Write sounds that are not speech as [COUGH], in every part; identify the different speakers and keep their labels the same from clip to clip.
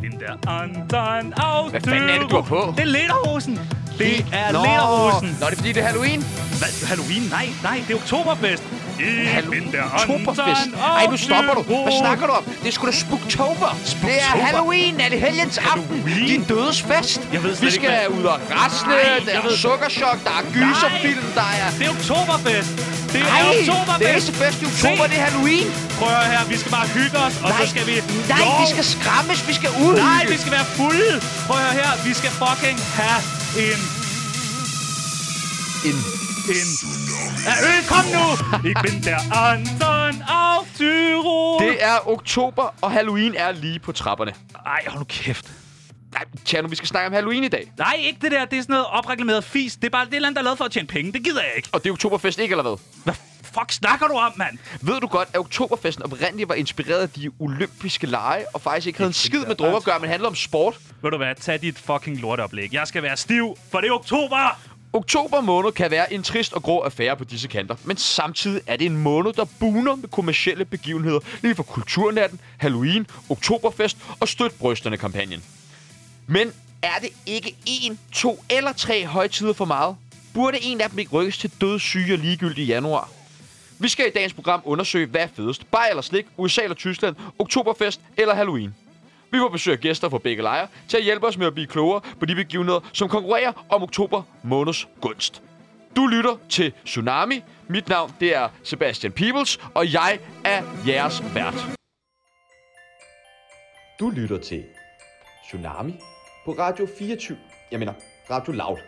Speaker 1: den der Anton Auto.
Speaker 2: Hvad fanden er det, du har på?
Speaker 1: Det er lederhosen. Det er
Speaker 2: Nå.
Speaker 1: lederhosen.
Speaker 2: Nå, det er fordi, det er Halloween.
Speaker 1: Hvad? Halloween? Nej, nej, det er oktoberfest.
Speaker 2: Halloween. Oktoberfest. Ej, nu stopper du. Hvad snakker du om? Det er sgu da Spooktober. Det er Halloween. Er det helgens aften?
Speaker 1: Halloween?
Speaker 2: Din dødes fest.
Speaker 1: Jeg ved slet
Speaker 2: Vi
Speaker 1: ikke,
Speaker 2: skal
Speaker 1: hvad-
Speaker 2: ud og rasle.
Speaker 1: Nej,
Speaker 2: Der
Speaker 1: jeg
Speaker 2: er
Speaker 1: ved-
Speaker 2: sukkerchok. Der er gyserfilm. Der er...
Speaker 1: Det er oktoberfest. Det er
Speaker 2: Ej,
Speaker 1: oktoberfest.
Speaker 2: det eneste fest i oktober,
Speaker 1: Se,
Speaker 2: det er Halloween.
Speaker 1: Prøv at høre her, vi skal bare hygge os, og så
Speaker 2: Nej,
Speaker 1: skal vi...
Speaker 2: nej,
Speaker 1: Jo.
Speaker 2: vi skal skræmmes. Vi skal ud.
Speaker 1: Nej, vi skal være fulde. Prøv at høre her, vi skal fucking have en...
Speaker 2: En
Speaker 1: en... Ja, øl, kom nu! Ik bin der Anton auf Tyrol.
Speaker 2: Det er oktober, og Halloween er lige på trapperne.
Speaker 1: Ej, hold nu kæft.
Speaker 2: Nej, Tjerno, vi skal snakke om Halloween i dag.
Speaker 1: Nej, ikke det der. Det er sådan noget opreklameret fis. Det er bare det er et eller andet, der er lavet for at tjene penge. Det gider jeg ikke.
Speaker 2: Og det er oktoberfest ikke, eller hvad?
Speaker 1: Hvad fuck snakker du om, mand?
Speaker 2: Ved du godt, at oktoberfesten oprindeligt var inspireret af de olympiske lege, og faktisk ikke havde en skid med druk at gøre, men handler om sport?
Speaker 1: Ved du hvad? Tag dit fucking lorteoplæg. Jeg skal være stiv, for det er oktober.
Speaker 2: Oktober måned kan være en trist og grå affære på disse kanter, men samtidig er det en måned, der buner med kommersielle begivenheder, lige fra kulturnatten, Halloween, oktoberfest og støt brysterne-kampagnen. Men er det ikke en, to eller tre højtider for meget? Burde en af dem ikke rykkes til død syge og ligegyldig i januar? Vi skal i dagens program undersøge, hvad er fedest. Bajer eller slik, USA eller Tyskland, oktoberfest eller Halloween. Vi får besøg af gæster fra begge lejre til at hjælpe os med at blive klogere på de begivenheder, som konkurrerer om oktober måneds gunst. Du lytter til Tsunami. Mit navn det er Sebastian Peebles, og jeg er jeres vært.
Speaker 3: Du lytter til Tsunami på Radio 24. Jeg mener, Radio Loud.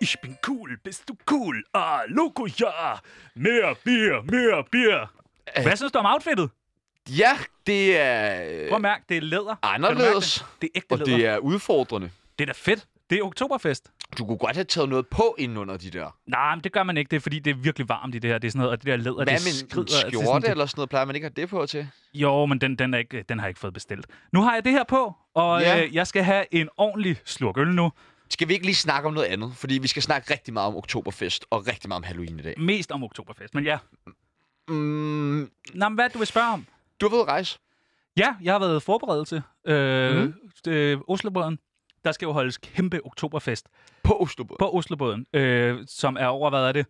Speaker 1: Ich bin cool, bist du cool? Ah, loco, ja. Mere bier, mere bier. Hvad synes du om outfittet?
Speaker 2: Ja, det er øh,
Speaker 1: Prøv at mærke, det er læder. Kan du mærke
Speaker 2: anderledes,
Speaker 1: Det? det er ægte
Speaker 2: og
Speaker 1: læder.
Speaker 2: det er udfordrende.
Speaker 1: det er da fedt. Det er oktoberfest.
Speaker 2: Du kunne godt have taget noget på indenunder de der.
Speaker 1: Nej, men det gør man ikke. Det er fordi, det er virkelig varmt i det her. Det er sådan noget, og det der læder,
Speaker 2: Hvad
Speaker 1: det
Speaker 2: med
Speaker 1: skrider.
Speaker 2: en
Speaker 1: altså, det er
Speaker 2: skjorte
Speaker 1: sådan, det-
Speaker 2: eller sådan noget, plejer man ikke at have det på til?
Speaker 1: Jo, men den, den, er ikke, den har jeg ikke fået bestilt. Nu har jeg det her på, og
Speaker 2: Ja.
Speaker 1: ja. øh, jeg skal have en ordentlig slurk øl nu.
Speaker 2: Skal vi ikke lige snakke om noget andet? Fordi vi skal snakke rigtig meget om oktoberfest og rigtig meget om Halloween i dag.
Speaker 1: Mest om oktoberfest, men ja.
Speaker 2: Mm,
Speaker 1: Nå, men hvad er det, du vil spørge om?
Speaker 2: du har været ude at rejse.
Speaker 1: Ja, jeg har været i forberedelse. Øh, mm. øh, Oslobåden. Der skal jo holdes kæmpe oktoberfest
Speaker 2: På Oslobåd.
Speaker 1: på Oslobåden, øh, som er over, hvad er det?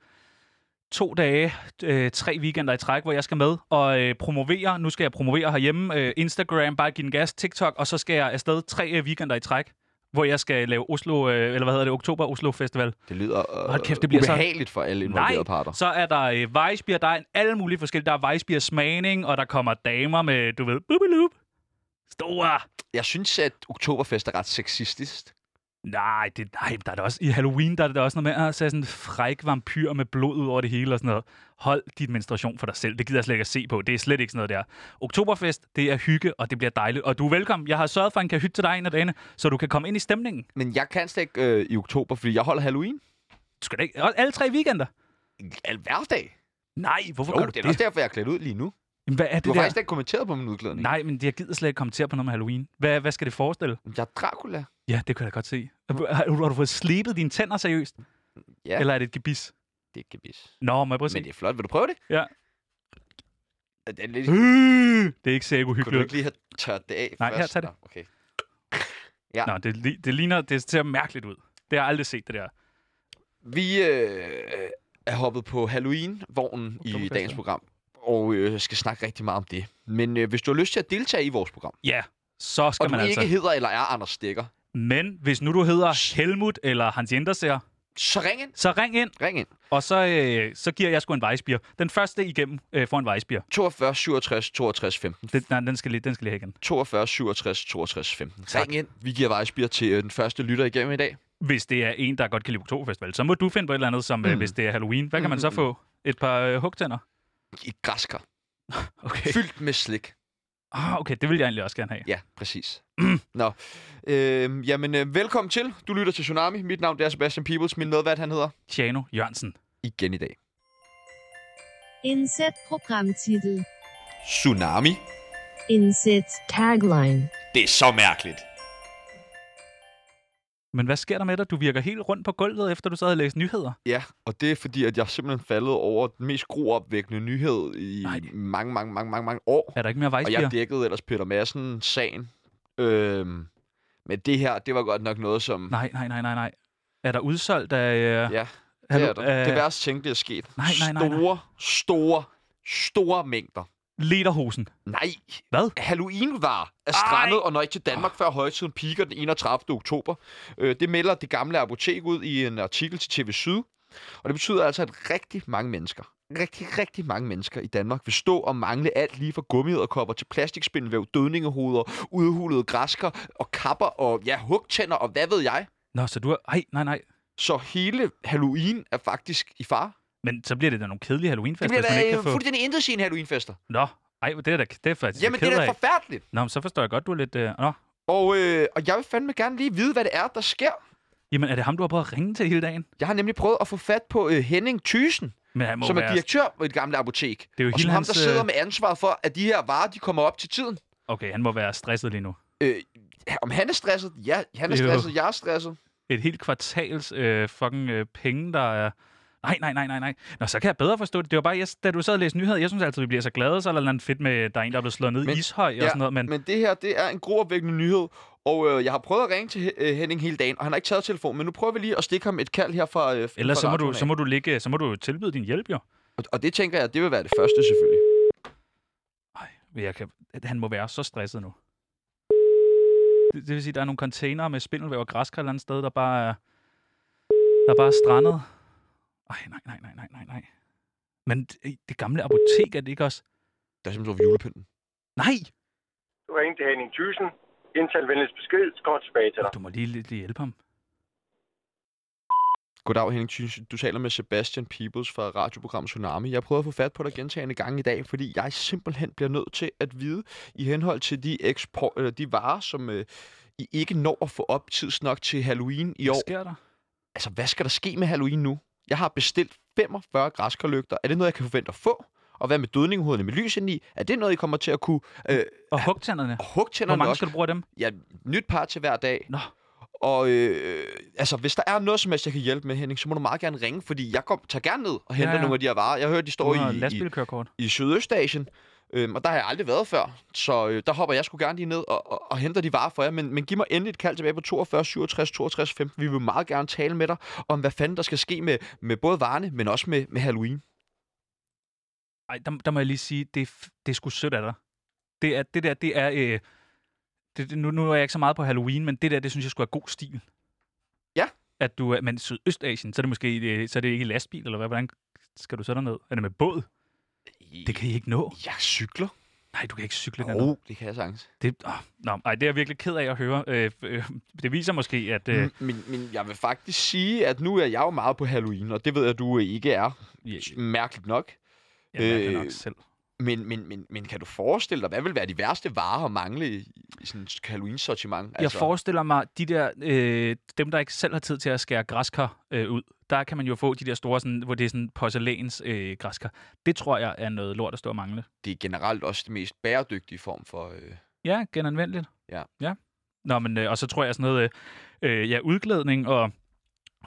Speaker 1: To dage, øh, tre weekender i træk, hvor jeg skal med og øh, promovere. Nu skal jeg promovere herhjemme. Øh, Instagram, bare give den gas. TikTok, og så skal jeg afsted tre øh, weekender i træk, hvor jeg skal lave Oslo, øh, eller hvad hedder det, Oktober Oslo Festival.
Speaker 2: Det lyder øh,
Speaker 1: Hold kæft, det bliver så-
Speaker 2: ubehageligt for alle involverede
Speaker 1: Nej,
Speaker 2: parter.
Speaker 1: så er der øh, vejsbier, der er en- alle mulige forskellige. Der er vejsbier smagning, og der kommer damer med, du ved, bubelup. Store.
Speaker 2: Jeg synes, at oktoberfest er ret sexistisk.
Speaker 1: Nej, det, nej, der er det også, i Halloween, der er det også noget med at se sådan en fræk vampyr med blod ud over det hele og sådan noget. Hold dit menstruation for dig selv. Det gider jeg slet ikke at se på. Det er slet ikke sådan noget der. Oktoberfest, det er hygge, og det bliver dejligt. Og du er velkommen. Jeg har sørget for en kahyt til dig en af dagene, så du kan komme ind i stemningen.
Speaker 2: Men jeg kan slet ikke øh, i oktober, fordi jeg holder Halloween.
Speaker 1: Du skal da ikke... og Alle tre weekender.
Speaker 2: Al hver dag.
Speaker 1: Nej, hvorfor
Speaker 2: Jo,
Speaker 1: gør du
Speaker 2: det er
Speaker 1: det?
Speaker 2: da også derfor, jeg er klædt ud lige nu. Du
Speaker 1: Jamen, hvad er
Speaker 2: har
Speaker 1: det der?
Speaker 2: faktisk ikke kommenteret på min udklædning.
Speaker 1: Nej, men jeg gider slet ikke kommentere på noget med Halloween. Hvad, hvad skal det forestille?
Speaker 2: Jeg er Dracula.
Speaker 1: Ja, det kan jeg da godt se. Har, har du fået slebet dine tænder seriøst?
Speaker 2: Ja.
Speaker 1: Eller er det et gebis?
Speaker 2: Det er ikke bis.
Speaker 1: Nå, må jeg prøve at se?
Speaker 2: Men det er flot. Vil du prøve det?
Speaker 1: Ja.
Speaker 2: Er Det er lidt...
Speaker 1: Øh, Det er ikke særlig
Speaker 2: Kunne du
Speaker 1: uhyggeligt.
Speaker 2: ikke lige have tørt det af
Speaker 1: Nej, her,
Speaker 2: først?
Speaker 1: tag det.
Speaker 2: Nå, okay.
Speaker 1: Nå, det, li- det ligner, det ser mærkeligt ud. Det har jeg aldrig set, det der.
Speaker 2: Vi øh, er hoppet på Halloween-vognen i
Speaker 1: Oktoberfest,
Speaker 2: dagens
Speaker 1: ja.
Speaker 2: program. Og øh, skal snakke rigtig meget om det. Men øh, hvis du har lyst til at deltage i vores program,
Speaker 1: Ja, så skal
Speaker 2: og du
Speaker 1: man
Speaker 2: ikke
Speaker 1: altså.
Speaker 2: hedder eller er Anders Stikker,
Speaker 1: Men hvis nu du hedder Helmut eller Hans Jenderser,
Speaker 2: så ring ind.
Speaker 1: så ring ind,
Speaker 2: Ring ind.
Speaker 1: og så, øh, så giver jeg sgu en vejsbier. Den første igennem øh, får en vejsbier.
Speaker 2: 42 67 62 15.
Speaker 1: Den, nej, den skal, lige, den skal lige have igen.
Speaker 2: 42 67 62 15.
Speaker 1: Tak.
Speaker 2: Ring ind. Vi giver vejsbier til øh, den første lytter igennem i dag.
Speaker 1: Hvis det er en, der godt kan lide oktoberfestival, så må du finde på et eller andet, som mm. øh, hvis det er Halloween. Hvad kan
Speaker 2: Mm.
Speaker 1: man så få? Et par øh, hugtænder?
Speaker 2: I græskar.
Speaker 1: Okay.
Speaker 2: Fyldt med slik.
Speaker 1: Ah, okay, det vil jeg egentlig også gerne have.
Speaker 2: Ja, præcis. Nå. Øh, jamen, øh, velkommen til. Du lytter til Tsunami. Mit navn det er Sebastian Peebles. Min medvært, han hedder
Speaker 1: Tjano Jørgensen.
Speaker 2: igen i dag.
Speaker 4: Inset Programmtitel.
Speaker 3: Tsunami.
Speaker 4: Inset Tagline.
Speaker 3: Det er så mærkeligt.
Speaker 1: Men hvad sker der med dig? Du virker helt rundt på gulvet, efter du sad og læste nyheder.
Speaker 2: Ja, og det er fordi, at jeg simpelthen faldet over den mest groopvækkende nyhed i
Speaker 1: Nej.
Speaker 2: mange, mange, mange, mange, mange år.
Speaker 1: Er der ikke mere
Speaker 2: Og
Speaker 1: vejsbier?
Speaker 2: jeg dækkede ellers Peter Madsen-sagen Øhm, men det her, det var godt nok noget, som...
Speaker 1: Nej, nej, nej, nej, nej. Er der udsolgt af... Øh,
Speaker 2: Ja,
Speaker 1: hallo-
Speaker 2: det, er der. det
Speaker 1: af
Speaker 2: værste tænkelige er sket.
Speaker 1: Nej, nej, nej, nej.
Speaker 2: Store, store, store mængder.
Speaker 1: Lederhosen.
Speaker 2: Nej,
Speaker 1: Hvad?
Speaker 2: Halloween var er strandet og nøj til Danmark før højtiden piker den 31. oktober. Øh, Det melder det gamle apotek ud i en artikel til TV Syd. Og det betyder altså, at rigtig mange mennesker, rigtig, rigtig mange mennesker i Danmark vil stå og mangle alt lige fra gummiederkopper til plastikspindvæv, dødningehoveder, udhulede græsker og kapper og ja, hugtænder og hvad ved jeg.
Speaker 1: Nå, så du har... Ej, nej, nej.
Speaker 2: Så hele Halloween er faktisk i far.
Speaker 1: Men så bliver det da nogle kedelige
Speaker 2: Det
Speaker 1: Halloweenfester,
Speaker 2: bliver
Speaker 1: hvis man ikke
Speaker 2: da
Speaker 1: kan
Speaker 2: øh,
Speaker 1: få...
Speaker 2: fuldstændig intet sin Halloweenfester.
Speaker 1: Nå, ej, det er da det er faktisk
Speaker 2: Jamen,
Speaker 1: ked
Speaker 2: det er da
Speaker 1: af.
Speaker 2: forfærdeligt.
Speaker 1: Nå, men så forstår jeg godt, du er lidt... Øh... Nå,
Speaker 2: Og, øh, og jeg vil fandme gerne lige vide, hvad det er, der sker.
Speaker 1: jamen er det ham, du har prøvet at ringe til hele dagen?
Speaker 2: Jeg har nemlig prøvet at få fat på øh, Henning Thysen,
Speaker 1: Men han må
Speaker 2: som
Speaker 1: være...
Speaker 2: er direktør på et gamle apotek.
Speaker 1: Det er jo
Speaker 2: og
Speaker 1: hele
Speaker 2: som ham, der
Speaker 1: hans, øh,
Speaker 2: sidder med ansvaret for, at de her varer, de kommer op til tiden.
Speaker 1: Okay, han må være stresset lige nu.
Speaker 2: Øh, om han er stresset? Ja, han er
Speaker 1: Jo.
Speaker 2: stresset. Jeg er stresset.
Speaker 1: Et helt kvartals øh, fucking øh, penge, der er... Nej, nej, nej, nej, nej. Nå, så kan jeg bedre forstå det. Det var bare, jeg, da du sad og læste nyheder, jeg synes altid, vi bliver så glade, så er der noget fedt med, der er en, der er blevet slået ned
Speaker 2: Men-
Speaker 1: i ishøj og
Speaker 2: ja,
Speaker 1: sådan noget, men,
Speaker 2: Men det her, det er en gruopvækkende nyhed. Og øh, jeg har prøvet at ringe til He- øh, Henning hele dagen, og han har ikke taget telefonen. Men nu prøver vi lige at stikke ham et kald her fra, øh, fra
Speaker 1: ellers så må, du,
Speaker 2: radioen af.
Speaker 1: så må du ligge, så må du tilbyde din hjælp, jo.
Speaker 2: Og, og det tænker jeg, det vil være det første selvfølgelig.
Speaker 1: Ej, men jeg kan... han må være så stresset nu. Det, det vil sige, der er nogle containere med spindelvæv og græskar et eller andet sted, der bare er, der bare er strandet. Ej, nej, nej, nej, nej, nej, nej. Men det, det gamle apotek, er det ikke også?
Speaker 2: Der er simpelthen over julepynten.
Speaker 1: Nej!
Speaker 5: Du ringer til Henning Thyssen. Indtal venligst besked, så kommer jeg tilbage til dig.
Speaker 1: Du må lige, lige lige hjælpe ham.
Speaker 2: Goddag Henning Thyssen. Du taler med Sebastian Peebles fra radioprogrammet Tsunami. Jeg prøver at få fat på dig gentagende gange i dag, fordi jeg simpelthen bliver nødt til at vide i henhold til de, eksport, eller de varer, som øh, I ikke når at få op tidsnok til Halloween i
Speaker 1: Hvad
Speaker 2: år.
Speaker 1: sker der?
Speaker 2: Altså, hvad skal der ske med Halloween nu? Jeg har bestilt 45 græskarlygter. Er det noget, jeg kan forvente at få? Og hvad med dødninghovederne med lys indeni? Er det noget, I kommer til at kunne? Øh,
Speaker 1: Og hugtænderne.
Speaker 2: og
Speaker 1: Hvor
Speaker 2: hugtænderne
Speaker 1: mange
Speaker 2: også.
Speaker 1: skal du bruge af dem?
Speaker 2: Ja, nyt par til hver dag.
Speaker 1: Nå,
Speaker 2: Og øh, altså, hvis der er noget som helst, jeg kan hjælpe med, Henning, så må du meget gerne ringe, fordi jeg kom, tager gerne ned og henter
Speaker 1: ja.
Speaker 2: ja, ja. nogle af de her varer. Jeg hører, de
Speaker 1: du
Speaker 2: står
Speaker 1: har
Speaker 2: i, i,
Speaker 1: lastbilkørekort.
Speaker 2: i Sydøstasien, øhm, og der har jeg aldrig været før. Så øh, der hopper jeg sgu gerne lige ned og, og, og henter de varer for jer. Men, men giv mig endelig et kald tilbage på 42 67 62 15. Vi vil meget gerne tale med dig om, hvad fanden der skal ske med, med både varerne, men også med, med Halloween.
Speaker 1: Ej, der, der må jeg lige sige, det, er f- det er sgu sødt af dig. Det, er, det der, det er... Øh, det, det- nu, nu er jeg ikke så meget på Halloween, men det der, det synes jeg skulle er god stil.
Speaker 2: Ja.
Speaker 1: At du er, men Sydøstasien, så er det måske øh, så er det ikke i lastbil, eller hvad? Hvordan skal du så derned? Er det med båd? Det kan I ikke nå.
Speaker 2: Jeg cykler.
Speaker 1: Nej, du kan ikke cykle derned.
Speaker 2: Jo, det kan jeg sagtens.
Speaker 1: Det, oh, no, ej, det er jeg virkelig ked af at høre. Øh, øh, det viser måske, at... Øh,
Speaker 2: Mm, Men, men jeg vil faktisk sige, at nu er jeg jo meget på Halloween, og det ved jeg, at du øh, ikke er.
Speaker 1: jeg,
Speaker 2: Mærkeligt nok.
Speaker 1: jeg mærker
Speaker 2: øh,
Speaker 1: nok selv.
Speaker 2: Men, men, men, men kan du forestille dig, hvad vil være de værste varer at mangle i, i sådan et Halloween-sortiment? Altså,
Speaker 1: Jeg forestiller mig, de der, øh, dem der ikke selv har tid til at skære græskar øh, ud, der kan man jo få de der store, sådan, hvor det er sådan porcelæns øh, græskar. Det tror jeg er noget lort at stå og mangle.
Speaker 2: Det er generelt også det mest bæredygtige form for... Øh,
Speaker 1: Ja, genanvendeligt.
Speaker 2: Ja.
Speaker 1: ja. Nå, men, øh, og så tror jeg sådan noget, øh, øh, ja, udglædning og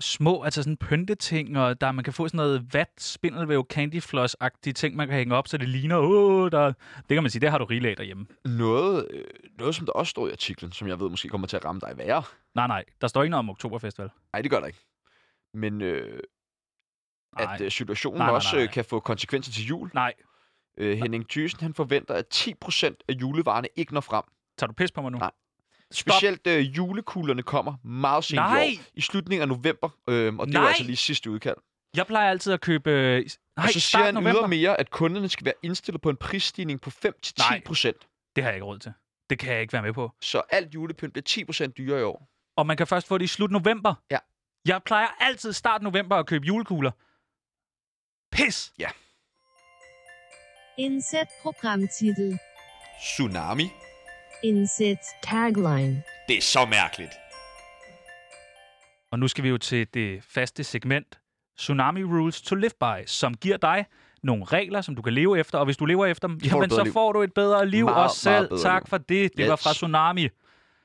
Speaker 1: små, altså sådan pynteting, og der man kan få sådan noget vat, spindelvæv, candyfloss-agtige ting, man kan hænge op, så det ligner, åh, der... det kan man sige, det har du rigeligt af derhjemme.
Speaker 2: noget, øh, noget, som der også står i artiklen, som jeg ved måske kommer til at ramme dig værre.
Speaker 1: Nej, nej, der står ikke noget om Oktoberfest, vel?
Speaker 2: Nej, det gør der ikke. Men øh,
Speaker 1: Nej,
Speaker 2: at øh, situationen
Speaker 1: Nej, nej,
Speaker 2: også
Speaker 1: nej,
Speaker 2: øh,
Speaker 1: nej.
Speaker 2: kan få konsekvenser til jul.
Speaker 1: nej.
Speaker 2: Øh, Henning Thyssen, han forventer, at 10% af julevarerne ikke når frem.
Speaker 1: Tager du pis på mig nu?
Speaker 2: Nej.
Speaker 1: Stop.
Speaker 2: Specielt øh, julekuglerne kommer meget sent
Speaker 1: Nej!
Speaker 2: i år. I slutningen af november, øh, og det er
Speaker 1: Nej!
Speaker 2: jo altså lige sidste udkald.
Speaker 1: Jeg plejer altid at købe... øh, Nej,
Speaker 2: og så siger
Speaker 1: start
Speaker 2: han
Speaker 1: november.
Speaker 2: ydermere, at kunderne skal være indstillet på en prisstigning på 5-10
Speaker 1: Nej.
Speaker 2: procent.
Speaker 1: Det har jeg ikke råd til. Det kan jeg ikke være med på.
Speaker 2: Så alt julepynt bliver 10% dyrere i år.
Speaker 1: Og man kan først få det i slut november.
Speaker 2: Ja.
Speaker 1: Jeg plejer altid start november at købe julekugler. Pis!
Speaker 4: Inset Programmtitel.
Speaker 2: Tsunami?
Speaker 4: Inset Tagline.
Speaker 2: Det er så mærkeligt.
Speaker 1: Og nu skal vi jo til det faste segment, Tsunami Rules to Live By, som giver dig nogle regler, som du kan leve efter. Og hvis du lever efter dem,
Speaker 2: får du
Speaker 1: jamen,
Speaker 2: et bedre
Speaker 1: så
Speaker 2: liv.
Speaker 1: får du et bedre liv
Speaker 2: Meget,
Speaker 1: også selv.
Speaker 2: meget bedre
Speaker 1: tak
Speaker 2: liv.
Speaker 1: for det. Det var
Speaker 2: Yes.
Speaker 1: fra Tsunami.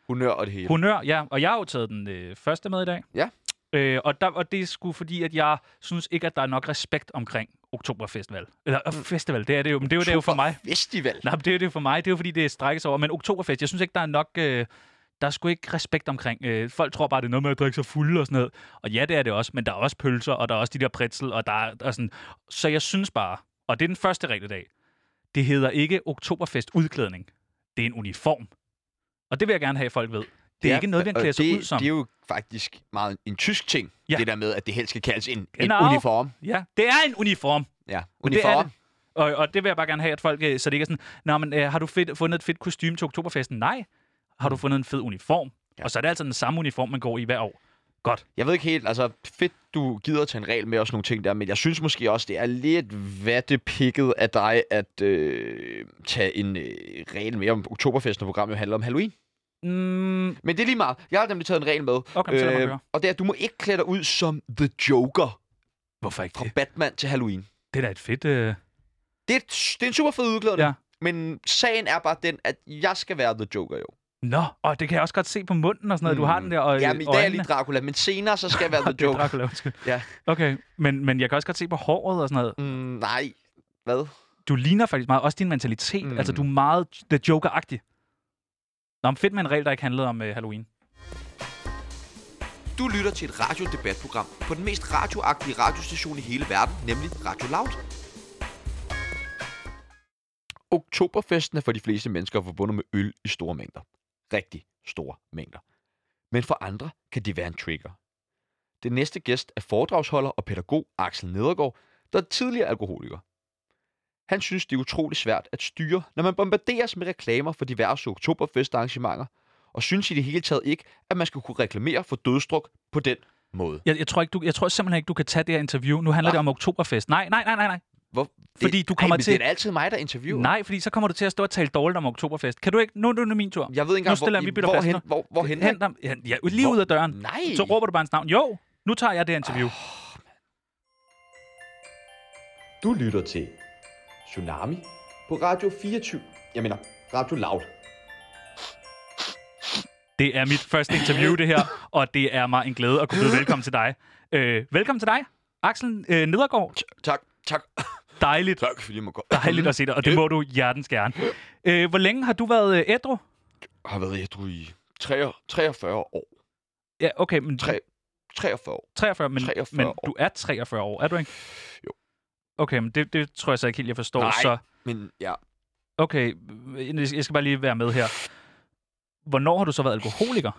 Speaker 2: Honør og det hele.
Speaker 1: Honør, ja. Og jeg har jo taget den øh, første med i dag.
Speaker 2: Ja.
Speaker 1: Øh, og, der, og det er sgu fordi, at jeg synes ikke, at der er nok respekt omkring Oktoberfestival. Eller
Speaker 2: Mm.
Speaker 1: øh, festival, det er det jo, men det er jo, det er jo for mig.
Speaker 2: Festival.
Speaker 1: Nej, men det er jo det for mig. Det er jo fordi, det strækkes over. Men Oktoberfest, jeg synes ikke, der er nok... Øh, der er sgu ikke respekt omkring. Øh, folk tror bare, det er noget med at drikke sig fuld og sådan noget. Og ja, det er det også, men der er også pølser, og der er også de der pretzel, og der er og sådan. Så jeg synes bare, og det er den første regel i dag, det hedder ikke Oktoberfest udklædning. Det er en uniform. Og det vil jeg gerne have, at folk ved. Det er ja, ikke noget, vi
Speaker 2: og
Speaker 1: klæder sig
Speaker 2: det,
Speaker 1: ud som.
Speaker 2: Det er jo faktisk meget en tysk ting,
Speaker 1: Ja.
Speaker 2: ja. det der med, at det helst skal kaldes en, en
Speaker 1: arv.
Speaker 2: uniform.
Speaker 1: Ja, det er en uniform.
Speaker 2: Ja,
Speaker 1: Men det er
Speaker 2: uniform.
Speaker 1: det. Og, og det vil jeg bare gerne have, at folk, øh, så det ikke er sådan, Nå, men øh, har du fedt, fundet et fedt kostume til oktoberfesten? Nej. Har du fundet en fed uniform? Ja.
Speaker 2: Mm. Ja.
Speaker 1: Og så er det altså den samme uniform, man går i hver år. Godt.
Speaker 2: Jeg ved ikke helt, altså fedt, du gider at tage en regel med og sådan nogle ting der, men jeg synes måske også, det er lidt vattepikket af dig at øh, tage en øh, regel med om oktoberfest, når programmet jo handler om Halloween.
Speaker 1: Mm,
Speaker 2: Men det er lige meget. Jeg har nemlig taget en regel med. Øh,
Speaker 1: Okay, men så lad mig høre.
Speaker 2: og det er, at du må ikke klæde dig ud som The Joker
Speaker 1: hvorfor ikke
Speaker 2: fra
Speaker 1: det?
Speaker 2: Batman til Halloween.
Speaker 1: Det er da et fedt... Øh...
Speaker 2: Det er, et- det er en super fed udklædning,
Speaker 1: Ja.
Speaker 2: ja. men sagen er bare den, at jeg skal være The Joker jo. Mm.
Speaker 1: Nå, og det kan jeg også godt se på munden og sådan noget. Du har den der og
Speaker 2: Ja, men i dag er jeg lige Dracula, men senere så
Speaker 1: [LAUGHS]
Speaker 2: skal jeg være The
Speaker 1: Det er
Speaker 2: Joker.
Speaker 1: Dracula, undskyld.
Speaker 2: Ja.
Speaker 1: Okay, men, men jeg kan også godt se på håret og sådan noget.
Speaker 2: Mm, nej, hvad?
Speaker 1: Du ligner faktisk meget også din mentalitet. Mm.
Speaker 2: Mm.
Speaker 1: Altså, du er meget The Joker-agtig. Nå, men fedt med en regel, der ikke handlede om øh, Halloween.
Speaker 2: Du lytter til et radiodebatprogram på den mest radioagtige radiostation i hele verden, nemlig Radio Loud. Oktoberfesten er for de fleste mennesker forbundet med øl i store mængder. Rigtig store mængder. Men for andre kan det være en trigger. Den næste gæst er foredragsholder og pædagog Axel Nedergaard, der er tidligere alkoholiker. Han synes, det er utrolig svært at styre, når man bombarderes med reklamer for diverse oktoberfestarrangementer, og synes i det hele taget ikke, at man skal kunne reklamere for dødstruk på den måde.
Speaker 1: Jeg, jeg, tror ikke, du, jeg tror simpelthen ikke, du kan tage det her interview. Nu handler
Speaker 2: Hva?
Speaker 1: det om oktoberfest. Nej, nej, nej, nej, nej.
Speaker 2: Hvor,
Speaker 1: Fordi du kommer
Speaker 2: Ej, men
Speaker 1: til-
Speaker 2: det er da altid mig, der interviewer.
Speaker 1: Nej, fordi så kommer du til at stå og tale dårligt om oktoberfest. Kan du ikke? Nu, nu er det min tur.
Speaker 2: Jeg ved ikke
Speaker 1: Nu
Speaker 2: engang,
Speaker 1: stiller vi
Speaker 2: hvor,
Speaker 1: Peter
Speaker 2: hvor,
Speaker 1: Fassner.
Speaker 2: hen, hvor, hvor hen,
Speaker 1: Hent ham. Ja, ja, lige
Speaker 2: Hvor-
Speaker 1: ud af døren.
Speaker 2: Nej. Ah.
Speaker 1: Så råber du bare hans navn. Jo, nu tager jeg det her interview.
Speaker 3: Du lytter til Tsunami på Radio 24. Jeg mener, Radio Loud.
Speaker 1: Det er mit første interview, det her. Og det er mig en glæde at kunne byde velkommen til dig. Øh, velkommen til dig, Axel øh, Nedergaard.
Speaker 2: Tak, tak,
Speaker 1: Dejligt.
Speaker 2: tak, fordi man går.
Speaker 1: Dejligt at se dig, og det må du hjertens gerne. Øh, hvor længe har du været øh, ædru?
Speaker 2: har været ædru i 43, 43 år.
Speaker 1: Ja, okay, men
Speaker 2: Tre- 43 år.
Speaker 1: 43, men,
Speaker 2: 43
Speaker 1: men
Speaker 2: år.
Speaker 1: du er 43 år, er du ikke?
Speaker 2: Jo.
Speaker 1: Okay, men det, det tror jeg så ikke helt, jeg forstår.
Speaker 2: Nej.
Speaker 1: Så,
Speaker 2: Men ja,
Speaker 1: okay, jeg skal bare lige være med her. Hvornår har du så været alkoholiker?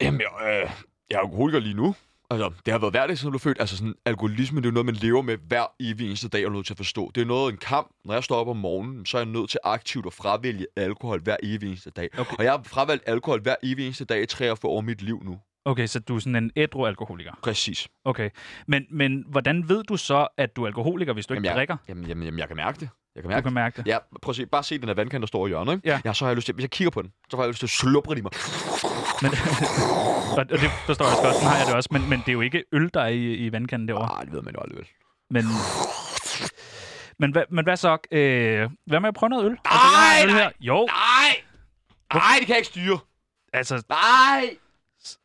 Speaker 2: jamen, jeg, øh, jeg er alkoholiker lige nu. Altså, det har været hverdag, siden jeg blev født. Altså, sådan, alkoholisme, det er jo noget, man lever med hver evig eneste dag, og er nødt til at forstå. Det er noget af en kamp. Når jeg står op om morgenen, så er jeg nødt til aktivt at fravælge alkohol hver evig eneste dag.
Speaker 1: Okay.
Speaker 2: Og jeg har fravalgt alkohol hver evig eneste dag i 43 år af mit liv nu.
Speaker 1: Okay, så du er sådan en ædru alkoholiker.
Speaker 2: Præcis.
Speaker 1: Okay. Men, men hvordan ved du så, at du er alkoholiker, hvis du ikke
Speaker 2: jeg,
Speaker 1: drikker?
Speaker 2: Jamen, jamen, jamen, jeg kan mærke det. Jeg kan
Speaker 1: Du
Speaker 2: mærke
Speaker 1: kan
Speaker 2: det.
Speaker 1: mærke det.
Speaker 2: Ja, prøv at se. Bare se den her vandkant, der står i hjørnet, ikke?
Speaker 1: Ja.
Speaker 2: ja. så har jeg lyst til, hvis jeg kigger på den, så får jeg lyst til at slubre den i mig.
Speaker 1: Men, [LAUGHS] og, og det forstår jeg også godt, sådan har jeg det også. Men, men det er jo ikke øl, der er i, i vandkanden derovre.
Speaker 2: Ah, det ved man jo aldrig vel.
Speaker 1: Men, men, hvad, men hvad så? Øh, hvad med at prøve noget øl? Nej,
Speaker 2: Nej, nej.
Speaker 1: Jo,
Speaker 2: Nej! Nej, det kan jeg ikke styre.
Speaker 1: altså,
Speaker 2: Nej!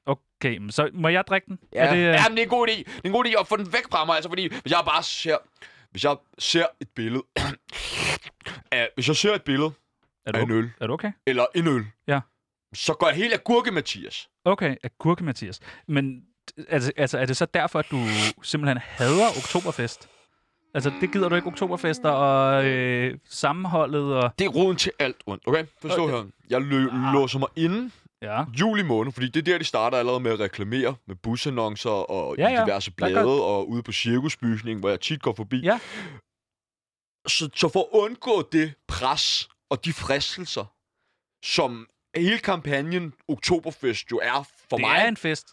Speaker 1: okay, men så må jeg drikke den?
Speaker 2: Ja,
Speaker 1: Er det, øh,
Speaker 2: Jamen, det er en god idé. Det er en god idé at få den væk fra mig, altså, fordi hvis jeg bare ser... Hvis jeg ser et billede... [CLEARS THROAT] af, hvis jeg ser et billede
Speaker 1: er,
Speaker 2: af en
Speaker 1: du,
Speaker 2: øl,
Speaker 1: er du okay?
Speaker 2: eller en øl,
Speaker 1: Ja.
Speaker 2: så går jeg helt agurke, Mathias.
Speaker 1: Okay, agurke, Mathias. Men altså, altså, er det så derfor, at du simpelthen hader oktoberfest? Altså, det gider du ikke oktoberfester og øh, sammenholdet og...
Speaker 2: Det er roden til alt ondt, okay? Forstå
Speaker 1: Okay. Ah.
Speaker 2: her. Jeg lø- låser mig inde
Speaker 1: Ja,
Speaker 2: juli måned, fordi det er der, de starter allerede med at reklamere med busannoncer og
Speaker 1: Ja,
Speaker 2: ja,
Speaker 1: ja.
Speaker 2: ja. diverse
Speaker 1: Der går-
Speaker 2: blade og ude på cirkusbygningen, hvor jeg tit går forbi.
Speaker 1: Ja.
Speaker 2: Så, så for at undgå det pres og de fristelser, som hele kampagnen Oktoberfest jo er for
Speaker 1: det
Speaker 2: mig,
Speaker 1: er en fest.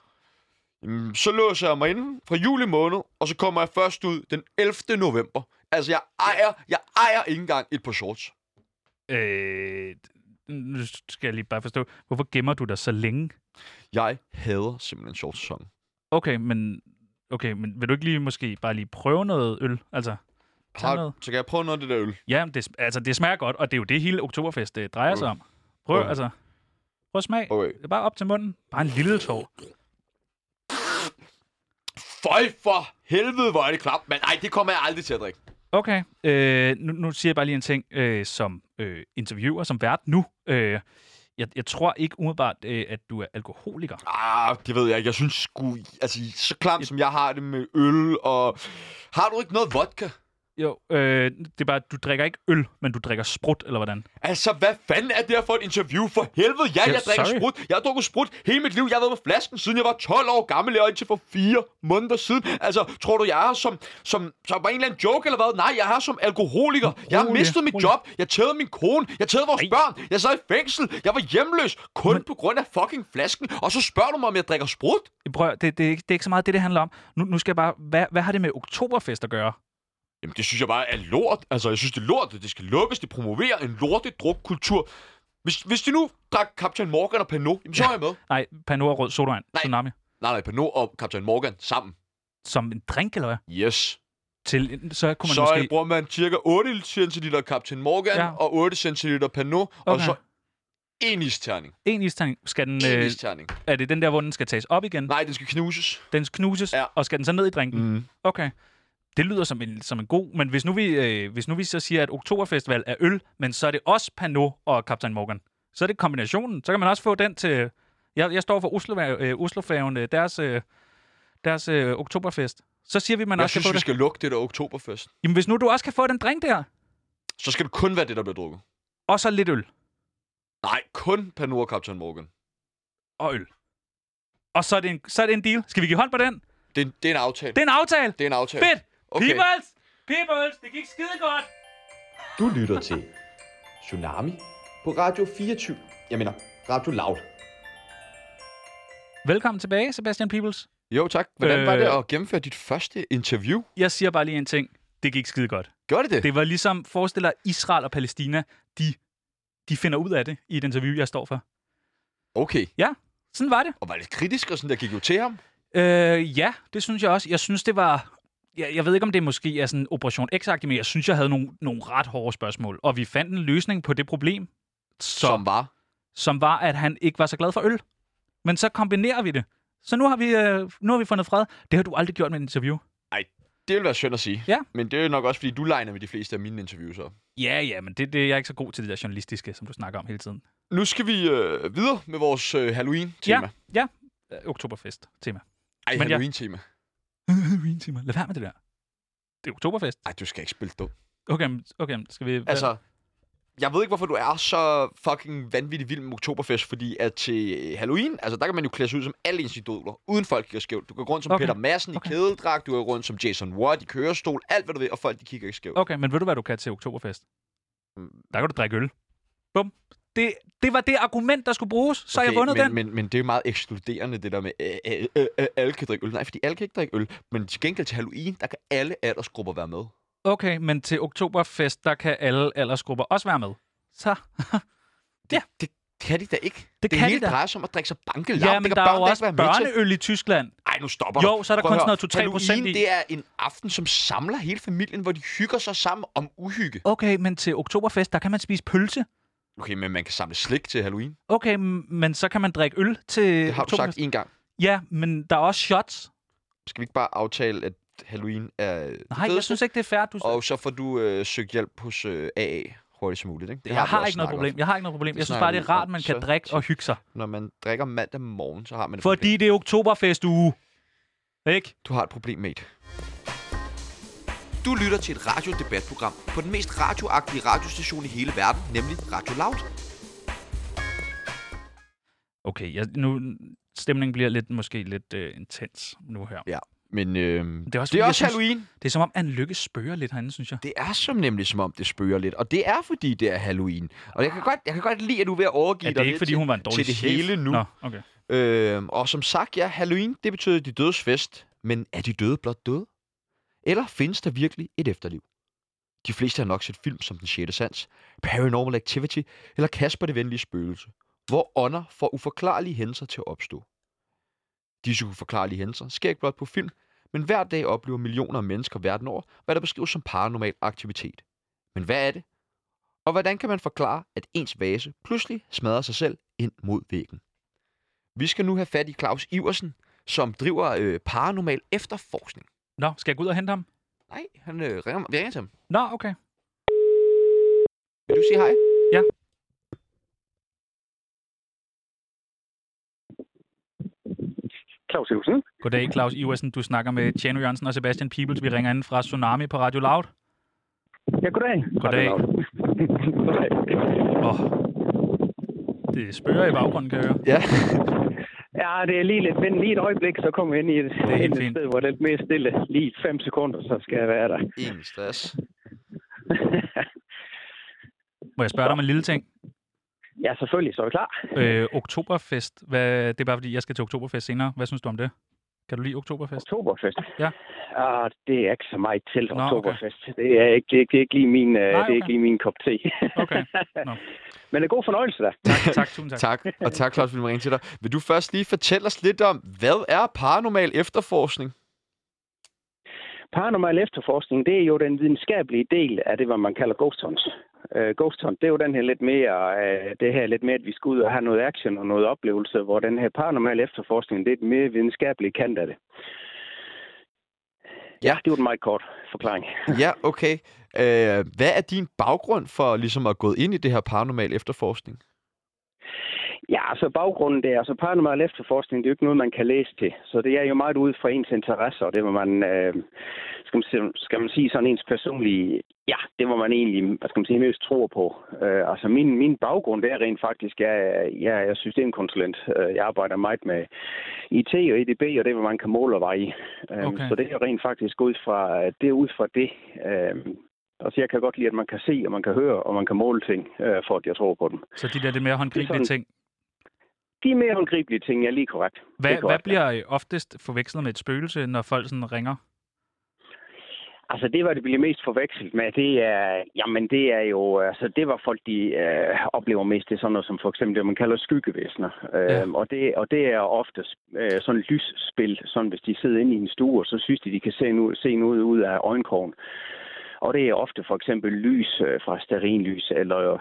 Speaker 2: mm, så låser jeg mig inde fra juli måned, og så kommer jeg først ud den 11. november. Altså, jeg ejer, jeg ejer ikke engang et par shorts.
Speaker 1: Øh, nu skal jeg lige bare forstå, hvorfor gemmer du dig så længe?
Speaker 2: Jeg hader simpelthen shortsæsonen.
Speaker 1: Okay, men, okay, men vil du ikke lige måske bare lige prøve noget øl? Altså, Tag
Speaker 2: Har-
Speaker 1: noget.
Speaker 2: Så kan jeg prøve noget af det der øl?
Speaker 1: ja, det, altså, det smager godt, og det er jo det, hele oktoberfest øh, drejer sig om. Prøv,
Speaker 2: Okay.
Speaker 1: altså, prøv at smag.
Speaker 2: Okay.
Speaker 1: Det er bare op til munden. Bare en lille tår.
Speaker 2: Føj for helvede, hvor er det klap, men nej, det kommer jeg aldrig til at drikke.
Speaker 1: Okay. Øh, nu, nu siger jeg bare lige en ting øh, som øh, interviewer, som vært nu. Øh, jeg, jeg tror ikke umiddelbart, øh, at du er alkoholiker.
Speaker 2: Ah, det ved jeg ikke. Jeg synes sgu... Altså, så klam som jeg har det med øl og... Har du ikke noget vodka?
Speaker 1: Jo. Øh, det er bare, at du drikker ikke øl, men du drikker sprut, eller hvordan?
Speaker 2: Altså, hvad fanden er det her for et interview? For helvede, ja,
Speaker 1: Ja,
Speaker 2: jeg drikker
Speaker 1: sorry.
Speaker 2: sprut. Jeg har drukket sprut hele mit liv. Jeg har været på flasken, siden jeg var 12 år gammel, og indtil for fire måneder siden. Altså, tror du, jeg er som, som, som bare en eller anden joke eller hvad? Nej, jeg er som alkoholiker. Jeg har
Speaker 1: Rolig,
Speaker 2: mistet mit
Speaker 1: rolig.
Speaker 2: job. Jeg tævede min kone. Jeg tævede vores børn. Jeg sad i fængsel. Jeg var hjemløs. Kun på grund af fucking flasken. Og så spørger du mig, om jeg drikker sprut?
Speaker 1: Prøv, at- det, det, er ikke- det er ikke så meget det, det handler om. Nu, nu skal jeg bare... Hvad, hvad har det med oktoberfest at gøre?
Speaker 2: Jamen, det synes jeg bare er lort. Altså, jeg synes, det er lort, og det skal lukkes. Det promoverer en lortet drukkultur. Hvis, hvis de nu drak Captain Morgan og Pernod, jamen, så er jeg med.
Speaker 1: Nej, Panora Rød Sodavand.
Speaker 2: Nej.
Speaker 1: Tsunami.
Speaker 2: Nej, nej, Pernod og Captain Morgan sammen.
Speaker 1: Som en drink, eller hvad?
Speaker 2: Yes.
Speaker 1: Til, så kunne man
Speaker 2: så
Speaker 1: måske...
Speaker 2: måske... bruger man cirka 8 cl Captain Morgan ja.
Speaker 1: Ja.
Speaker 2: og 8 cl Pernod, okay. og
Speaker 1: Okay.
Speaker 2: så en isterning.
Speaker 1: En isterning. Skal den,
Speaker 2: En
Speaker 1: øh,
Speaker 2: isterning.
Speaker 1: er det den der, hvor den skal tages op igen?
Speaker 2: Nej, den skal knuses.
Speaker 1: Den knuses,
Speaker 2: Ja.
Speaker 1: ja. og skal den så ned i drinken?
Speaker 2: Mm.
Speaker 1: Okay. Det lyder som en, som en god, men hvis nu, vi, øh, hvis nu vi så siger, at Oktoberfestival er øl, men så er det også Pernod og Captain Morgan. Så er det kombinationen. Så kan man også få den til... Jeg, jeg står for Oslo, øh, Oslofærgen, øh, deres, øh, deres øh, Oktoberfest. Så siger vi, at man
Speaker 2: Jeg
Speaker 1: også
Speaker 2: synes,
Speaker 1: kan få
Speaker 2: vi
Speaker 1: det.
Speaker 2: skal lukke det der oktoberfest.
Speaker 1: Jamen, hvis nu du også kan få den drink der,
Speaker 2: Så skal det kun være det, der bliver drukket.
Speaker 1: og så lidt øl
Speaker 2: Nej, kun Pernod og Captain Morgan.
Speaker 1: og øl. Og så er, det en, så er det en deal. Skal vi give hånd på den?
Speaker 2: Det er, en- det er en aftale.
Speaker 1: Det er en aftale.
Speaker 2: Det er en aftale.
Speaker 1: Fedt! Okay. Peoples! Peoples! Det gik skide godt!
Speaker 3: Du lytter til Tsunami på Radio 24. Jeg mener, Radio Loud.
Speaker 1: Velkommen tilbage, Sebastian Peoples.
Speaker 2: Jo, tak. Hvordan øh... var
Speaker 1: Øh.
Speaker 2: det at gennemføre dit første interview?
Speaker 1: Jeg siger bare lige en ting. Det gik skide godt.
Speaker 2: Gjorde det
Speaker 1: [LAUGHS]
Speaker 2: det?
Speaker 1: Det var ligesom, forestiller Israel og Palæstina, de, de finder ud af det i et interview, jeg står for.
Speaker 2: Okay.
Speaker 1: Sådan var det.
Speaker 2: Og var lidt kritisk og sådan, der gik jo til ham.
Speaker 1: Øh, ja, det synes jeg også. Jeg synes, det var... Jeg, jeg ved ikke, om det måske er sådan Operation x men jeg synes, jeg havde nogle, nogle ret hårde spørgsmål. Og vi fandt en løsning på det problem,
Speaker 2: Så. Som
Speaker 1: som,
Speaker 2: var.
Speaker 1: som var, at han ikke var så glad for øl. Men så kombinerer vi det. Så nu har vi, øh, nu har vi fundet fred. Det har du aldrig gjort med et interview.
Speaker 2: Det ville være synd at sige.
Speaker 1: Ja.
Speaker 2: Men det er jo nok også, fordi du legner med de fleste af mine interviews op.
Speaker 1: Ja, ja, men det, det jeg er ikke så god til det der journalistiske, som du snakker om hele tiden.
Speaker 2: Nu skal vi øh, videre med vores øh, Halloween-tema.
Speaker 1: Ja, ja. Øh, Oktoberfest-tema.
Speaker 2: Ej,
Speaker 1: Men jeg-
Speaker 2: Halloween-tema.
Speaker 1: [LAUGHS] Halloween-timer. Lad være med det der. Det er oktoberfest.
Speaker 2: Ej, du skal ikke spille dum.
Speaker 1: Okay, men- okay, men skal vi... hvad-
Speaker 2: Altså, jeg ved ikke, hvorfor du er så fucking vanvittig vild med Oktoberfest, fordi at til Halloween, altså der kan man jo klæde sig ud som alle ens idoler, uden folk kigger skævt. Du går rundt som okay.
Speaker 1: Okay.
Speaker 2: Peter Madsen okay.
Speaker 1: Okay.
Speaker 2: i kædeldragt, du går rundt som Jason Watt i kørestol, alt hvad du ved, og folk de kigger ikke skævt.
Speaker 1: Okay, men ved du, hvad du kan til oktoberfest?
Speaker 2: Mm.
Speaker 1: Der kan du drikke øl. Bum. Det, det var det argument, der skulle bruges. Så okay, jeg vundet
Speaker 2: men,
Speaker 1: den.
Speaker 2: Men, men det er jo meget ekskluderende, det der med, at øh, øh, øh, alle kan drikke øl. Nej, fordi alle kan ikke drikke øl, men til gengæld til Halloween, der kan alle aldersgrupper være med.
Speaker 1: Okay, men til oktoberfest, der kan alle aldersgrupper også være med. Så.
Speaker 2: Det, det kan de da ikke. Det,
Speaker 1: kan de
Speaker 2: hele
Speaker 1: da.
Speaker 2: drejer sig om at drikke sig banke
Speaker 1: Ja, men
Speaker 2: det kan
Speaker 1: der
Speaker 2: børn
Speaker 1: er jo
Speaker 2: da ikke
Speaker 1: også
Speaker 2: være med til.
Speaker 1: børneøl i Tyskland.
Speaker 2: Ej, nu stopper
Speaker 1: Jo,
Speaker 2: du.
Speaker 1: så er der
Speaker 2: Prøv at
Speaker 1: kun
Speaker 2: høre.
Speaker 1: sådan noget to- 3%
Speaker 2: Halloween,
Speaker 1: i.
Speaker 2: det er en aften, som samler hele familien, hvor de hygger sig sammen om uhygge.
Speaker 1: Okay, men til oktoberfest, der kan man spise pølse.
Speaker 2: Okay, men man kan samle slik til Halloween.
Speaker 1: Okay, m- men så kan man drikke øl til
Speaker 2: Det har du sagt
Speaker 1: oktoberfest.
Speaker 2: en gang.
Speaker 1: Ja, men der er også shots.
Speaker 2: Skal vi ikke bare aftale, at Halloween er det
Speaker 1: Nej, jeg
Speaker 2: fedeste?
Speaker 1: synes ikke, det er fair. Du...
Speaker 2: Og så får du øh, søgt hjælp hos øh, AA hurtigt som muligt. Ikke? Det
Speaker 1: jeg har
Speaker 2: vi
Speaker 1: ikke
Speaker 2: også
Speaker 1: noget
Speaker 2: snakket
Speaker 1: problem. Jeg har ikke noget problem.
Speaker 2: Det
Speaker 1: Jeg synes
Speaker 2: snakker
Speaker 1: bare,
Speaker 2: vi
Speaker 1: det er rart,
Speaker 2: om
Speaker 1: man kan
Speaker 2: så
Speaker 1: drikke og hygge sig.
Speaker 2: om. Når man drikker mandag morgen, så har man et
Speaker 1: Fordi
Speaker 2: problem.
Speaker 1: det er oktoberfestuge. Ikke?
Speaker 2: Du har et problem, mate. Du lytter til et radiodebatprogram på den mest radioagtige radiostation i hele verden, nemlig Radio Loud.
Speaker 1: Okay, jeg, nu stemningen bliver lidt måske lidt øh, intens nu her.
Speaker 2: Ja, men øh,
Speaker 1: Det er også,
Speaker 2: det
Speaker 1: fordi,
Speaker 2: er
Speaker 1: jeg
Speaker 2: også
Speaker 1: synes-
Speaker 2: Halloween.
Speaker 1: Det er som om, Anne Lykke spørger lidt herinde, synes jeg.
Speaker 2: Det er som nemlig som om, det spøger lidt. Og det er fordi, det er Halloween. Og jeg kan godt, jeg kan godt lide, at du er ved at overgive
Speaker 1: Er det
Speaker 2: dig
Speaker 1: ikke,
Speaker 2: lidt
Speaker 1: fordi
Speaker 2: til,
Speaker 1: hun var en dårlig
Speaker 2: til det
Speaker 1: chef?
Speaker 2: hele nu.
Speaker 1: Nå, okay.
Speaker 2: Øhm, og som sagt, ja, Halloween, det betyder de dødes fest. Men er de døde blot døde? Eller findes der virkelig et efterliv? De fleste har nok set film som Den 6. Sans, Paranormal Activity eller Kasper det Venlige Spøgelse, hvor ånder får uforklarlige hændelser til at opstå. Disse uforklarlige hændelser sker ikke blot på film, men hver dag oplever millioner af mennesker verden over, hvad der beskrives som paranormal aktivitet. Men hvad er det? Og hvordan kan man forklare, at ens vase pludselig smadrer sig selv ind mod væggen? Vi skal nu have fat i Claus Iversen, som driver øh, paranormal efterforskning.
Speaker 1: Nå, skal jeg gå ud og hente ham?
Speaker 2: Nej, han øh, ringer, mig- vi ringer til ham.
Speaker 1: Nå, okay.
Speaker 2: Vil du sige hej?
Speaker 1: Ja.
Speaker 5: Claus Husen.
Speaker 1: Goddag, Claus Iversen. Du snakker med Tjano Jørgensen og Sebastian Peebles. Vi ringer ind fra Tsunami på Radio Loud.
Speaker 5: Ja, goddag.
Speaker 1: Goddag. Åh. Det spørger i baggrunden, kan jeg høre.
Speaker 2: Ja.
Speaker 6: [LAUGHS] Ja, det er lige lidt vind. Lige et øjeblik, så kommer jeg ind i et,
Speaker 1: er helt
Speaker 6: ind et
Speaker 1: fint.
Speaker 6: sted, hvor det er lidt mere stille. Lige 5 sekunder, så skal jeg være
Speaker 2: [LAUGHS]
Speaker 6: der. [LAUGHS]
Speaker 2: Ingen stress.
Speaker 1: Må jeg spørge dig om en lille ting?
Speaker 6: ja, selvfølgelig, så er vi klar.
Speaker 1: Øh, oktoberfest. Hvad, det er bare fordi, jeg skal til oktoberfest senere. Hvad synes du om det? Kan du lide oktoberfest?
Speaker 6: Oktoberfest.
Speaker 1: Ja.
Speaker 6: Ah, det er ikke så meget til
Speaker 1: Nå, okay.
Speaker 6: Oktoberfest. Det, er ikke, det, er- det er ikke lige min, Nej, det
Speaker 1: okay.
Speaker 6: er ikke lige min kop te.
Speaker 1: [LAUGHS]
Speaker 6: [LAUGHS]
Speaker 1: Okay.
Speaker 6: Men det er god fornøjelse da.
Speaker 1: Tak, tak, tusind tak.
Speaker 2: Tak, og tak Claus, fordi du ringede til dig. Vil du først lige fortælle os lidt om, hvad er paranormal efterforskning?
Speaker 6: Paranormal efterforskning, det er jo den videnskabelige del af det, hvad man kalder ghost hunts. Uh, ghost hunt, det er jo den her lidt mere, uh, det her lidt mere, at vi skal ud og have noget action og noget oplevelse, hvor den her paranormal efterforskning, det er et mere videnskabeligt kant af det.
Speaker 2: Ja.
Speaker 6: det var en meget kort forklaring.
Speaker 2: Ja, okay. Øh, hvad er din baggrund for ligesom at gå ind i det her paranormal efterforskning?
Speaker 6: Ja, altså baggrunden det er, altså paranormal efterforskning, det er jo ikke noget, man kan læse til. Så det er jo meget ud fra ens interesser, og det var man, øh, skal, man, sige- skal man sige sådan ens personlige, ja, det var man egentlig, hvad skal man sige, mest tror på. Øh, altså min, min baggrund, det er rent faktisk, jeg, er- jeg er systemkonsulent. Øh, Jeg arbejder meget med IT og EDB, og det er, hvad man kan måle og veje. Øh,
Speaker 1: Okay.
Speaker 6: Så det er rent faktisk ud fra, det er ud fra det. Øh, altså jeg kan godt lide, at man kan se, og man kan høre, og man kan måle ting, øh, for at jeg tror på dem
Speaker 1: Så de der lidt mere håndgribelige
Speaker 6: Det er
Speaker 1: ting.
Speaker 6: de mere håndgribelige ting, jeg er lige korrekt. Det
Speaker 1: Hvad,
Speaker 6: er
Speaker 1: hvad
Speaker 6: korrekt.
Speaker 1: bliver øh, oftest forvekslet med et spøgelse, når folk sådan ringer?
Speaker 6: Altså det, hvad det bliver mest forvekslet med, det er, jamen det er jo, altså det, hvad folk de øh, oplever mest, det er sådan noget som for eksempel det, man kalder skyggevæsener.
Speaker 1: Ja.
Speaker 6: Øhm, og, det, og det er ofte øh, sådan lysspil, sådan hvis de sidder inde i en stue, og så synes de, de kan se noget, se noget ud af øjenkrogen. Og det er ofte for eksempel lys øh, fra sterinlys, eller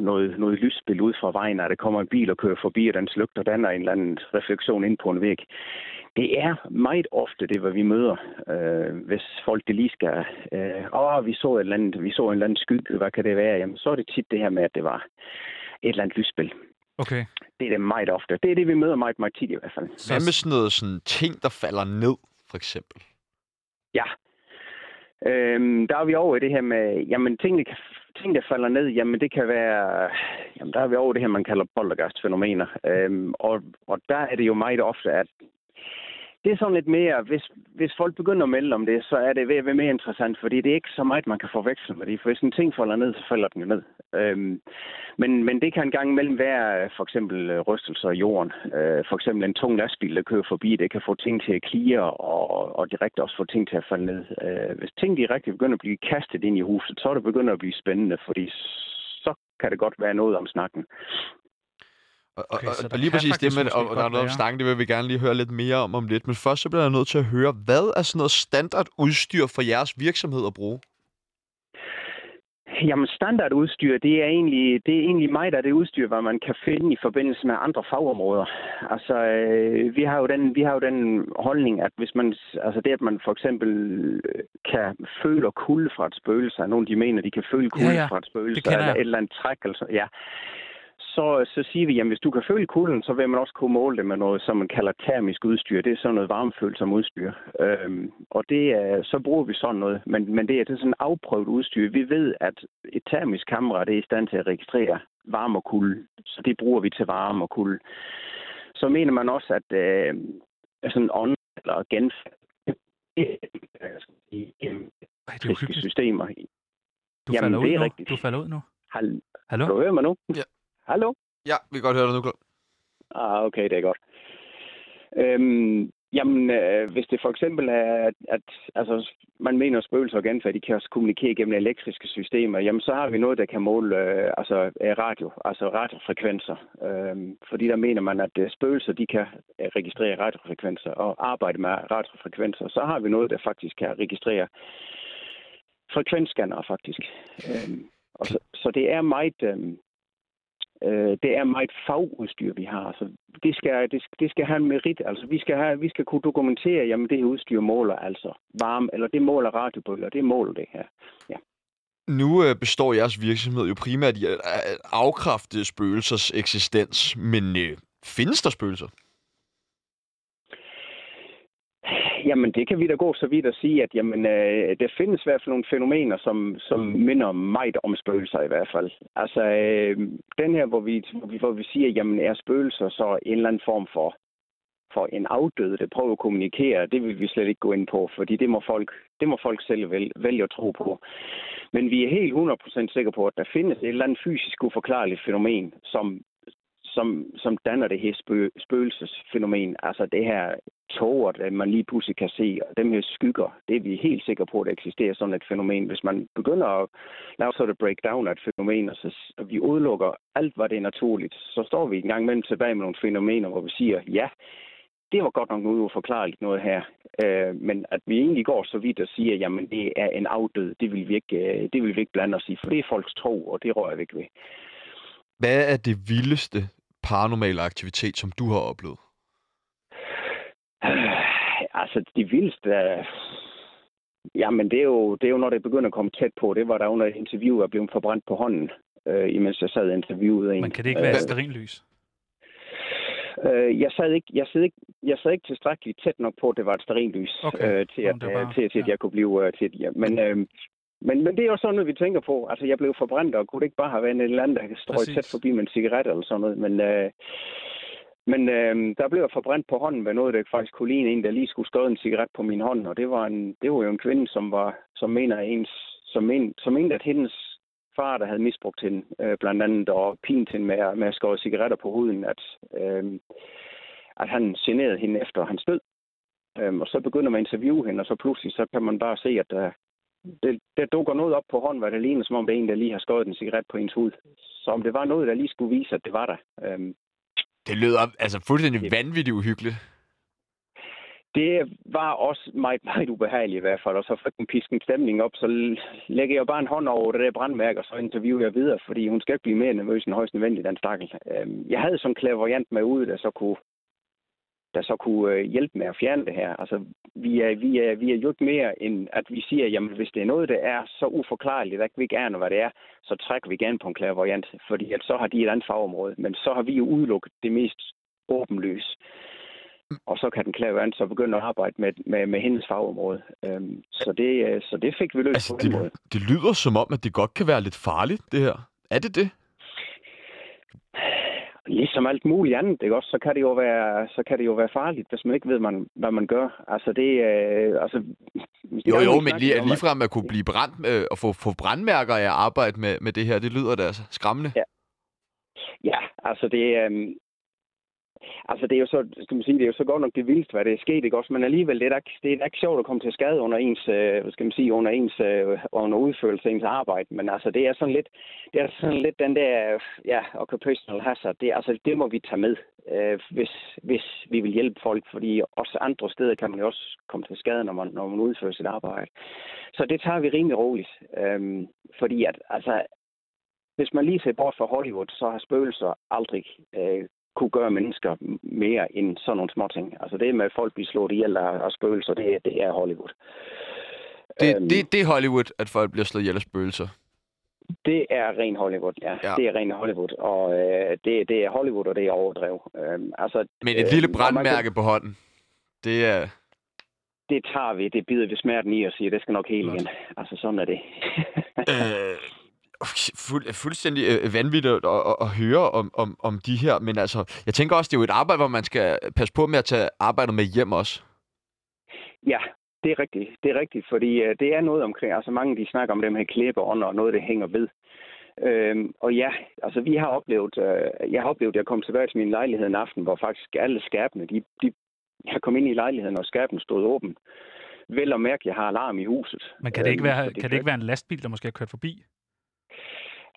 Speaker 6: noget, noget lysspil ud fra vejen, når der kommer en bil og kører forbi, og den slugter danner en eller anden refleksion ind på en væg. Det er meget ofte det, hvad vi møder, øh, hvis folk det lige skal... Øh, Åh, vi så, et eller andet, vi så en eller anden skygge, hvad kan det være? Jamen, så er det tit det her med, at det var et eller andet lysspil.
Speaker 1: Okay.
Speaker 6: Det er det meget ofte. Det er det, vi møder meget, meget tit i hvert fald.
Speaker 1: Så,
Speaker 2: Hvad med sådan noget sådan ting, der falder ned, for eksempel?
Speaker 6: Ja. Øhm, der er vi over i det her med, jamen tingene, kan- ting, der falder ned, jamen det kan være, jamen der er vi over i det her, man kalder poltergeist-fænomener. Øhm, og, og der er det jo meget ofte, at det er sådan lidt mere, hvis, hvis folk begynder at melde om det, så er det ved at være mere interessant, fordi det er ikke så meget, man kan forveksle med det. For hvis en ting falder ned, så falder den jo ned. Øhm, men, men det kan en gang imellem være øh, for eksempel øh, rystelser i jorden. Øh, for eksempel en tung lastbil, der kører forbi, det kan få ting til at klire, og, og direkte også få ting til at falde ned. Øh, hvis ting direkte begynder at blive kastet ind i huset, så er det begynder at blive spændende, fordi så kan det godt være noget om snakken.
Speaker 2: Og, okay,
Speaker 1: Okay,
Speaker 2: og,
Speaker 1: så
Speaker 2: og
Speaker 1: der
Speaker 2: lige
Speaker 1: kan
Speaker 2: præcis det
Speaker 1: faktisk
Speaker 2: med,
Speaker 1: måske
Speaker 2: og, og der er
Speaker 1: godt
Speaker 2: noget om
Speaker 1: være-
Speaker 2: snakken, det vil vi gerne lige høre lidt mere om om lidt. Men først så bliver jeg nødt til at høre, hvad er sådan noget standardudstyr for jeres virksomhed at bruge?
Speaker 6: Jamen standardudstyr, det er egentlig, det er egentlig meget af det udstyr, hvad man kan finde i forbindelse med andre fagområder. Altså, øh, vi har jo den, vi har jo den holdning, at hvis man, altså det, at man for eksempel øh, kan føle og kulde fra et spøgelse, og nogle de mener, de kan føle kulde
Speaker 1: ja.
Speaker 6: fra et spøgelse,
Speaker 1: kender
Speaker 6: eller
Speaker 1: jeg.
Speaker 6: et eller andet træk, eller sådan, ja. Så, så siger vi, at hvis du kan føle kulden, så vil man også kunne måle det med noget, som man kalder termisk udstyr. Det er sådan noget varmefølsom udstyr. Øhm, og det er, så bruger vi sådan noget. Men, men det er, det er sådan afprøvet udstyr. Vi ved, at et termisk kamera det er i stand til at registrere varme og kulde. Så det bruger vi til varme og kulde. Så mener man også, at øh, sådan ånd eller genfærd, det er, øh, skal vi sige, gennem
Speaker 1: Ej, det er
Speaker 6: elektriske
Speaker 1: uhyggeligt.
Speaker 6: systemer.
Speaker 1: Du
Speaker 6: Jamen,
Speaker 1: falder ud
Speaker 6: det er
Speaker 1: nu.
Speaker 6: rigtigt.
Speaker 1: Du falder ud nu.
Speaker 6: Hallo,
Speaker 1: Hallo?
Speaker 6: kan du høre mig nu?
Speaker 2: Ja.
Speaker 6: Hallo?
Speaker 2: Ja, vi kan godt høre dig nu, Claus.
Speaker 6: Ah, okay, det er godt. Øhm, jamen, øh, hvis det for eksempel er, at, at altså, man mener, at spøgelser og genfærd, de kan også kommunikere gennem elektriske systemer, jamen så har vi noget, der kan måle øh, altså, øh, radio, altså radiofrekvenser. Øhm, fordi der mener man, at øh, spøgelser, de kan øh, registrere radiofrekvenser og arbejde med radiofrekvenser. Så har vi noget, der faktisk kan registrere frekvensscanner, faktisk. Øhm, og så, så det er meget... Øhm, Øh, det er meget fagudstyr, vi har. Så det skal, det, skal- det skal have en merit. Altså, vi skal, have, vi skal kunne dokumentere, jamen det her udstyr måler altså varme, eller det måler radiobølger, det måler det her.
Speaker 2: Nu øh, består jeres virksomhed jo primært i at at afkræfte spøgelsers eksistens, men øh, findes der spøgelser?
Speaker 6: Jamen, det kan vi da gå så vidt at sige, at jamen, øh, der findes i hvert fald nogle fænomener, som, som minder meget om spøgelser i hvert fald. Altså, øh, den her, hvor vi, hvor vi- hvor vi siger, jamen, er spøgelser så en eller anden form for, for en afdød, der prøver at kommunikere, det vil vi slet ikke gå ind på, fordi det må folk, det må folk selv vælge, vælge at tro på. Men vi er helt 100% sikre på, at der findes et eller andet fysisk uforklarligt fænomen, som, som, som danner det her spø, spøgelsesfænomen. Altså det her tåger, der man lige pludselig kan se, og dem her skygger, det er vi helt sikre på, at der eksisterer sådan et fænomen. Hvis man begynder at lave sådan et breakdown af et fænomen, og, så, s- og vi udelukker alt, hvad det er naturligt, så står vi en gang imellem tilbage med nogle fænomener, hvor vi siger, ja, det var godt nok noget uforklarligt noget her. Øh, men at vi egentlig går så vidt og siger, jamen det er en afdød, det vil vi ikke, øh, det vil vi ikke blande os i, for det er folks tro, og det rører vi ikke ved.
Speaker 2: Hvad er det vildeste paranormale aktivitet, som du har oplevet?
Speaker 6: Øh, [SIGHS] altså, de vildeste... øh, Jamen, det er, jo, det er jo, når det begynder at komme tæt på. Det var der under et interview, jeg blev forbrændt på hånden, øh, imens jeg sad og interviewede en.
Speaker 1: Men kan det ikke være
Speaker 6: Øh,
Speaker 1: sterinlys?
Speaker 6: Øh, jeg, sad ikke, jeg, sad ikke, jeg sad ikke tilstrækkeligt tæt nok på, at det var et stearinlys,
Speaker 1: Okay.
Speaker 6: øh, til,
Speaker 1: Nå,
Speaker 6: at,
Speaker 1: men det var bare-
Speaker 6: til, til, at
Speaker 1: ja.
Speaker 6: jeg kunne blive øh, til et ja. Men, øh, men, men det er jo sådan noget, vi tænker på. Altså, jeg blev forbrændt, og kunne det ikke bare have været en eller anden, der strøg
Speaker 1: Præcis.
Speaker 6: tæt forbi med en cigaret eller sådan noget. Men, øh, men øh, der blev jeg forbrændt på hånden med noget, der faktisk kunne ligne en, der lige skulle skåret en cigaret på min hånd. Og det var, en, det var jo en kvinde, som, var, som mener, at ens, som, men, som mente, at hendes far, der havde misbrugt hende, øh, blandt andet, og pint hende med, at- med at skåre cigaretter på huden, at, øh, at han generede hende efter hans død. Øhm, og så begynder man at interviewe hende, og så pludselig så kan man bare se, at øh, der, det, der dukker noget op på hånden, hvad det ligner, som om det er en, der lige har skåret en cigaret på ens hud. Så om det var noget, der lige skulle vise, at det var der. Øhm,
Speaker 2: Det lyder altså fuldstændig
Speaker 6: Det-
Speaker 2: vanvittigt uhyggeligt.
Speaker 6: det var også meget, meget ubehageligt i hvert fald, og så fik den pisken stemning op, så l- lægger jeg bare en hånd over det der brandmærke, og så interviewer jeg videre, fordi hun skal ikke blive mere nervøs end højst nødvendigt, den stakkel. Øhm, jeg havde som klaverjant med ude, der så kunne der så kunne øh, hjælpe med at fjerne det her. Altså, vi er, vi er, vi er jo ikke mere end, at vi siger, jamen hvis det er noget, der er så uforklarligt, at vi ikke aner, hvad det er, så trækker vi gerne på en klaverjant, fordi at så har de et andet fagområde, men så har vi jo udelukket det mest åbenløse. Og så kan den klaverjant så begynde at arbejde med, med, med hendes fagområde. Øhm, så, det, øh, så det fik vi løst
Speaker 2: Altså,
Speaker 6: på den måde.
Speaker 2: det, det lyder som om, at det godt kan være lidt farligt, det her. Er det det?
Speaker 6: ligesom alt muligt andet, ikke også, så kan det jo være, så kan det jo være farligt, hvis man ikke ved, man, hvad man gør. Altså det, øh, altså,
Speaker 2: Jo,
Speaker 6: Jeg har
Speaker 2: jo, men
Speaker 6: snakket
Speaker 2: lige,
Speaker 6: om,
Speaker 2: at ligefrem at kunne blive brændt øh, og få, få brandmærker af at arbejde med, med det her, det lyder da altså skræmmende.
Speaker 6: Ja. Ja, altså det, øhm, altså det er jo så, skal man sige, det er jo så godt nok det vildeste, hvad det er sket, ikke også? Men alligevel, det er da ikke, det er da ikke sjovt at komme til skade under ens, øh, hvad skal man sige, under ens, øh, under udførelse af ens arbejde. Men altså, det er sådan lidt, det er altså sådan lidt den der, øh, ja, occupational hazard. Det, er- altså, det må vi tage med, øh, hvis, hvis vi vil hjælpe folk, fordi også andre steder kan man jo også komme til skade, når man, når man udfører sit arbejde. Så det tager vi rimelig roligt, øhm, fordi at, altså, hvis man lige ser bort fra Hollywood, så har spøgelser aldrig øh, kunne gøre mennesker m- mere end sådan nogle små ting. Altså det med, at folk bliver slået ihjel af, af spøgelser, det, er- det er Hollywood.
Speaker 2: Det,
Speaker 6: Øhm,
Speaker 2: det, det er Hollywood, at folk bliver slået ihjel af spøgelser.
Speaker 6: Det er ren Hollywood, ja.
Speaker 2: Ja.
Speaker 6: ja. Det er ren Hollywood, og øh, det, det er Hollywood, og det er overdrev. Øhm, altså,
Speaker 2: Men et
Speaker 6: øh,
Speaker 2: lille
Speaker 6: og man kan-
Speaker 2: brandmærke på hånden, det er...
Speaker 6: Det tager vi, det bider vi smerten i og siger, det skal nok hele
Speaker 2: Klart.
Speaker 6: igen. Altså sådan er det. [LAUGHS]
Speaker 2: Øh, fuld, fuldstændig øh, vanvittigt at, at, at høre om, om, om de her, men altså, jeg tænker også, det er jo et arbejde, hvor man skal passe på med at tage arbejdet med hjem også.
Speaker 6: Ja, det er rigtigt. Det er rigtigt, fordi øh, det er noget omkring, altså mange de snakker om dem her klæbeånder og noget, det hænger ved. Øhm, og ja, altså vi har oplevet, øh, jeg har oplevet, at jeg kom tilbage til min lejlighed en aften, hvor faktisk alle skabene, de, de, jeg kom ind i lejligheden, og skabene stod åben. Vel og mærke, jeg har alarm i huset.
Speaker 1: Men kan det ikke
Speaker 6: Øhm, så
Speaker 1: være, kan
Speaker 6: gør-
Speaker 1: det ikke være en lastbil, der måske har kørt forbi?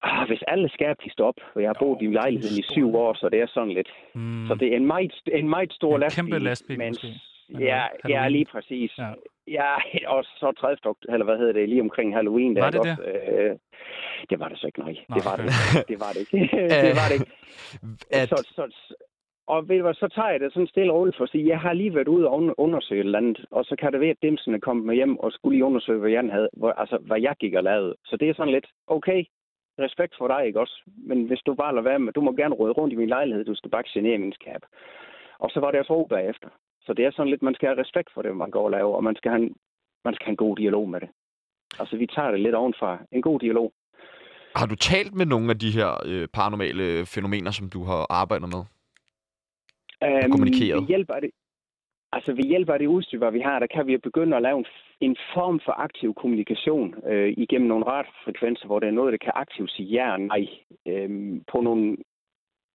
Speaker 6: Ah, hvis alle skab de står op, og jeg har
Speaker 1: Jo,
Speaker 6: boet i
Speaker 1: det er en
Speaker 6: lejligheden i
Speaker 1: stor
Speaker 6: syv
Speaker 1: lejlighed.
Speaker 6: år, så det er sådan lidt.
Speaker 1: Mm.
Speaker 6: Så det er en meget, st- en meget stor
Speaker 1: En
Speaker 6: lastbil.
Speaker 1: kæmpe lastbil,
Speaker 6: men,
Speaker 1: måske. Men øh,
Speaker 6: Ja, ja,
Speaker 1: Halloween.
Speaker 6: lige præcis.
Speaker 1: Ja.
Speaker 6: Ja. ja, [LAUGHS] og så 30. okt- eller hvad hedder det, lige omkring Halloween. der,
Speaker 1: Var det
Speaker 6: ikke også? Øh, det var det så ikke, [LAUGHS] nej.
Speaker 1: Nå, [LAUGHS]
Speaker 6: Det var det, ikke. det var det ikke. det var det ikke.
Speaker 2: At,
Speaker 6: Så, så, så, Og ved du hvad, så tager jeg det sådan stille og roligt for at sige, jeg har lige været ude og un- undersøge et eller andet, og så kan det være, at dimsene kom med hjem og skulle lige undersøge, hvad jeg, havde, hvor, altså, hvad jeg gik og lavede. Så det er sådan lidt, okay, respekt for dig, ikke også? Men hvis du bare lader være med, du må gerne rode rundt i min lejlighed, du skal bare ikke genere min skab. Og så var det også ro bagefter. Så det er sådan lidt, man skal have respekt for det, man går og laver, og man skal have en, man skal have en god dialog med det. Altså, vi tager det lidt ovenfra. En god dialog.
Speaker 2: Har du talt med nogle af de her øh, paranormale fænomener, som du har arbejdet med?
Speaker 6: Øhm,
Speaker 2: kommunikeret?
Speaker 6: Ved hjælp af det, altså ved hjælp af det udstyr, hvad vi har, der kan vi jo begynde at lave en, en form for aktiv kommunikation øh, igennem nogle radiofrekvenser, hvor der er noget, der kan aktivt sige ja og nej øhm, på nogle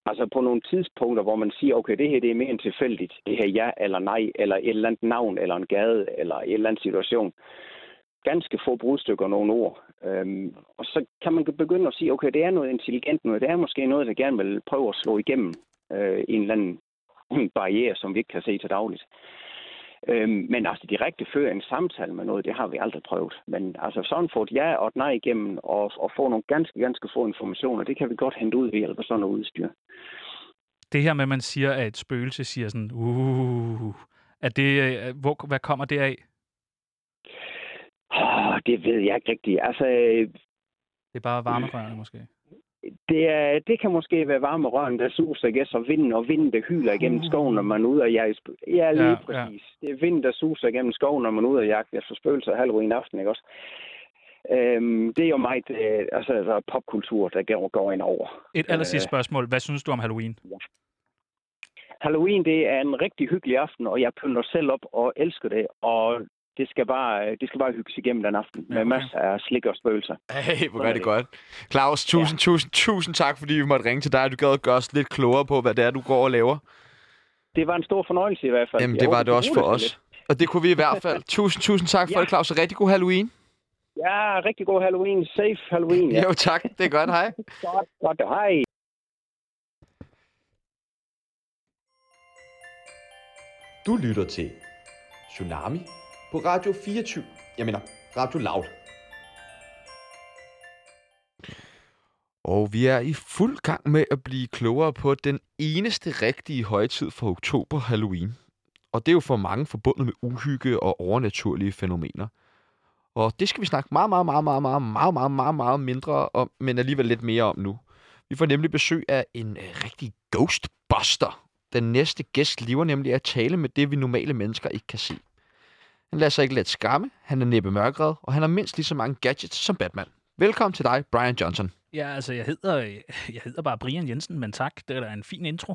Speaker 6: Altså på nogle tidspunkter, hvor man siger, okay, det her det er mere end tilfældigt. Det her ja eller nej, eller et eller andet navn, eller en gade, eller en eller anden situation. Ganske få brudstykker og nogle ord. Øhm, og så kan man begynde at sige, okay, det er noget intelligent noget. Det er måske noget, der gerne vil prøve at slå igennem øh, en eller anden barriere, som vi ikke kan se til dagligt. Øhm, men altså direkte føre en samtale med noget, det har vi aldrig prøvet. Men altså sådan få et ja og et nej igennem, og, og få nogle ganske, ganske få informationer, det kan vi godt hente ud ved hjælp af sådan noget udstyr.
Speaker 1: Det her med, at man siger, at et spøgelse siger sådan, uh, er det, øh, hvor, hvad kommer det af?
Speaker 6: Oh, det ved jeg ikke rigtigt. Altså, øh,
Speaker 1: Det er bare varmerørene måske.
Speaker 6: det, er, det kan måske være varme røren, der suser, ikke? Så vinden og vinden, der hyler igennem skoven, når man er ude og jage. sp- Ja, lige
Speaker 1: Mm. Ja,
Speaker 6: ja,
Speaker 1: ja.
Speaker 6: præcis. Ja. Det er vinden, der suser igennem skoven, når man er ude og jagte efter spøgelser halv aften, ikke også? Øhm, det er jo meget øh, altså, der er popkultur, der går- går ind over.
Speaker 1: Et allersidste
Speaker 6: Øh.
Speaker 1: spørgsmål. Hvad synes du om Halloween?
Speaker 6: Halloween, det er en rigtig hyggelig aften, og jeg pynter selv op og elsker det, og det skal bare, det skal bare hygges igennem den aften
Speaker 1: Ja,
Speaker 6: med
Speaker 1: okay.
Speaker 6: masser af slik og spøgelser.
Speaker 2: Hey, hvor er det
Speaker 6: det.
Speaker 2: godt. Claus, tusind, ja. tusind, tusind tak, fordi vi måtte ringe til dig. Du gad at gøre os lidt klogere på, hvad det er, du går og laver.
Speaker 6: Det var en stor fornøjelse i hvert fald.
Speaker 2: Jamen,
Speaker 6: Jeg
Speaker 2: det
Speaker 6: håber,
Speaker 2: var det
Speaker 6: du
Speaker 2: også for
Speaker 6: bruger til
Speaker 2: os.
Speaker 6: lidt.
Speaker 2: Og det kunne vi i hvert fald. Tusind, tusind tak for
Speaker 6: Ja.
Speaker 2: det, Claus, og rigtig god Halloween.
Speaker 6: Ja, rigtig god Halloween. Safe Halloween. Ja.
Speaker 2: Jo, tak. Det er godt. Hej.
Speaker 6: Godt, godt. Hej.
Speaker 3: Du lytter til Tsunami på Radio 24. Jeg mener, Radio Loud.
Speaker 2: Og vi er i fuld gang med at blive klogere på den eneste rigtige højtid for oktober, Halloween. Og det er jo for mange forbundet med uhygge og overnaturlige fænomener. Og det skal vi snakke meget, meget, meget, meget, meget, meget, meget, meget, meget mindre om, men alligevel lidt mere om nu. Vi får nemlig besøg af en øh, rigtig ghostbuster. Den næste gæst lever nemlig af at tale med det, vi normale mennesker ikke kan se. Han lader sig ikke let skamme, han er næppe mørkred, og han har mindst lige så mange gadgets som Batman. Velkommen til dig, Brian Johnson.
Speaker 1: Ja, altså, jeg hedder, jeg hedder bare Brian Jensen, men tak. Det er da en fin intro.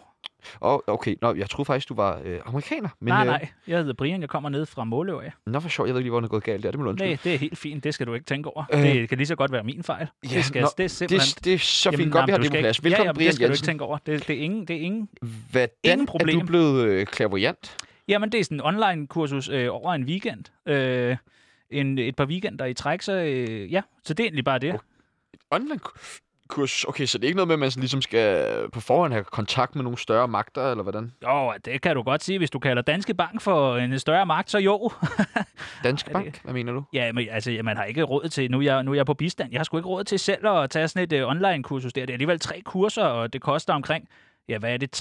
Speaker 2: Og okay, nå, jeg troede faktisk, du var øh, amerikaner. Men,
Speaker 1: Men, nej,
Speaker 2: øh,
Speaker 1: nej. Jeg hedder Brian. Jeg kommer ned fra Måløv af.
Speaker 2: Nå, for sjovt, jeg ved ikke lige, hvor det er gået galt der. Det må du undskylde.
Speaker 1: Nej, det er helt fint. Det skal du ikke tænke over.
Speaker 2: Øh.
Speaker 1: Øh, det kan lige så godt være min fejl.
Speaker 2: Ja,
Speaker 1: det, skal,
Speaker 2: nå,
Speaker 1: det er simpelthen...
Speaker 2: det, det er så fint
Speaker 1: Jamen,
Speaker 2: godt,
Speaker 1: nej,
Speaker 2: vi har
Speaker 1: men du
Speaker 2: det på
Speaker 1: skal
Speaker 2: plads.
Speaker 1: ikke-
Speaker 2: Velkommen,
Speaker 1: ja, ja, men
Speaker 2: Brian
Speaker 1: det skal du
Speaker 2: Jensen.
Speaker 1: ikke tænke over. Det, det, er ingen, det er ingen...
Speaker 2: Hvordan
Speaker 1: Ingen
Speaker 2: er du
Speaker 1: problem.
Speaker 2: blevet øh, klaverjant?
Speaker 1: Jamen, det er sådan en online-kursus øh, over en weekend. Øh, en, et par weekender i træk, så øh, ja. Så det er egentlig bare det.
Speaker 2: Online kurs. Okay, så det er ikke noget med, at man sådan ligesom skal øh, på forhånd have kontakt med nogle større magter, eller hvordan?
Speaker 1: Jo, det kan du godt sige. Hvis du kalder Danske Bank for en større magt, så jo. [LAUGHS]
Speaker 2: Dansk
Speaker 1: det-
Speaker 2: Bank, hvad mener du?
Speaker 1: ja, men altså, ja, man har ikke råd til... Nu er, jeg, nu er jeg på bistand. Jeg har sgu ikke råd til selv at tage sådan et øh, online-kursus der. Det er alligevel tre kurser, og det koster omkring... Ja, hvad er det?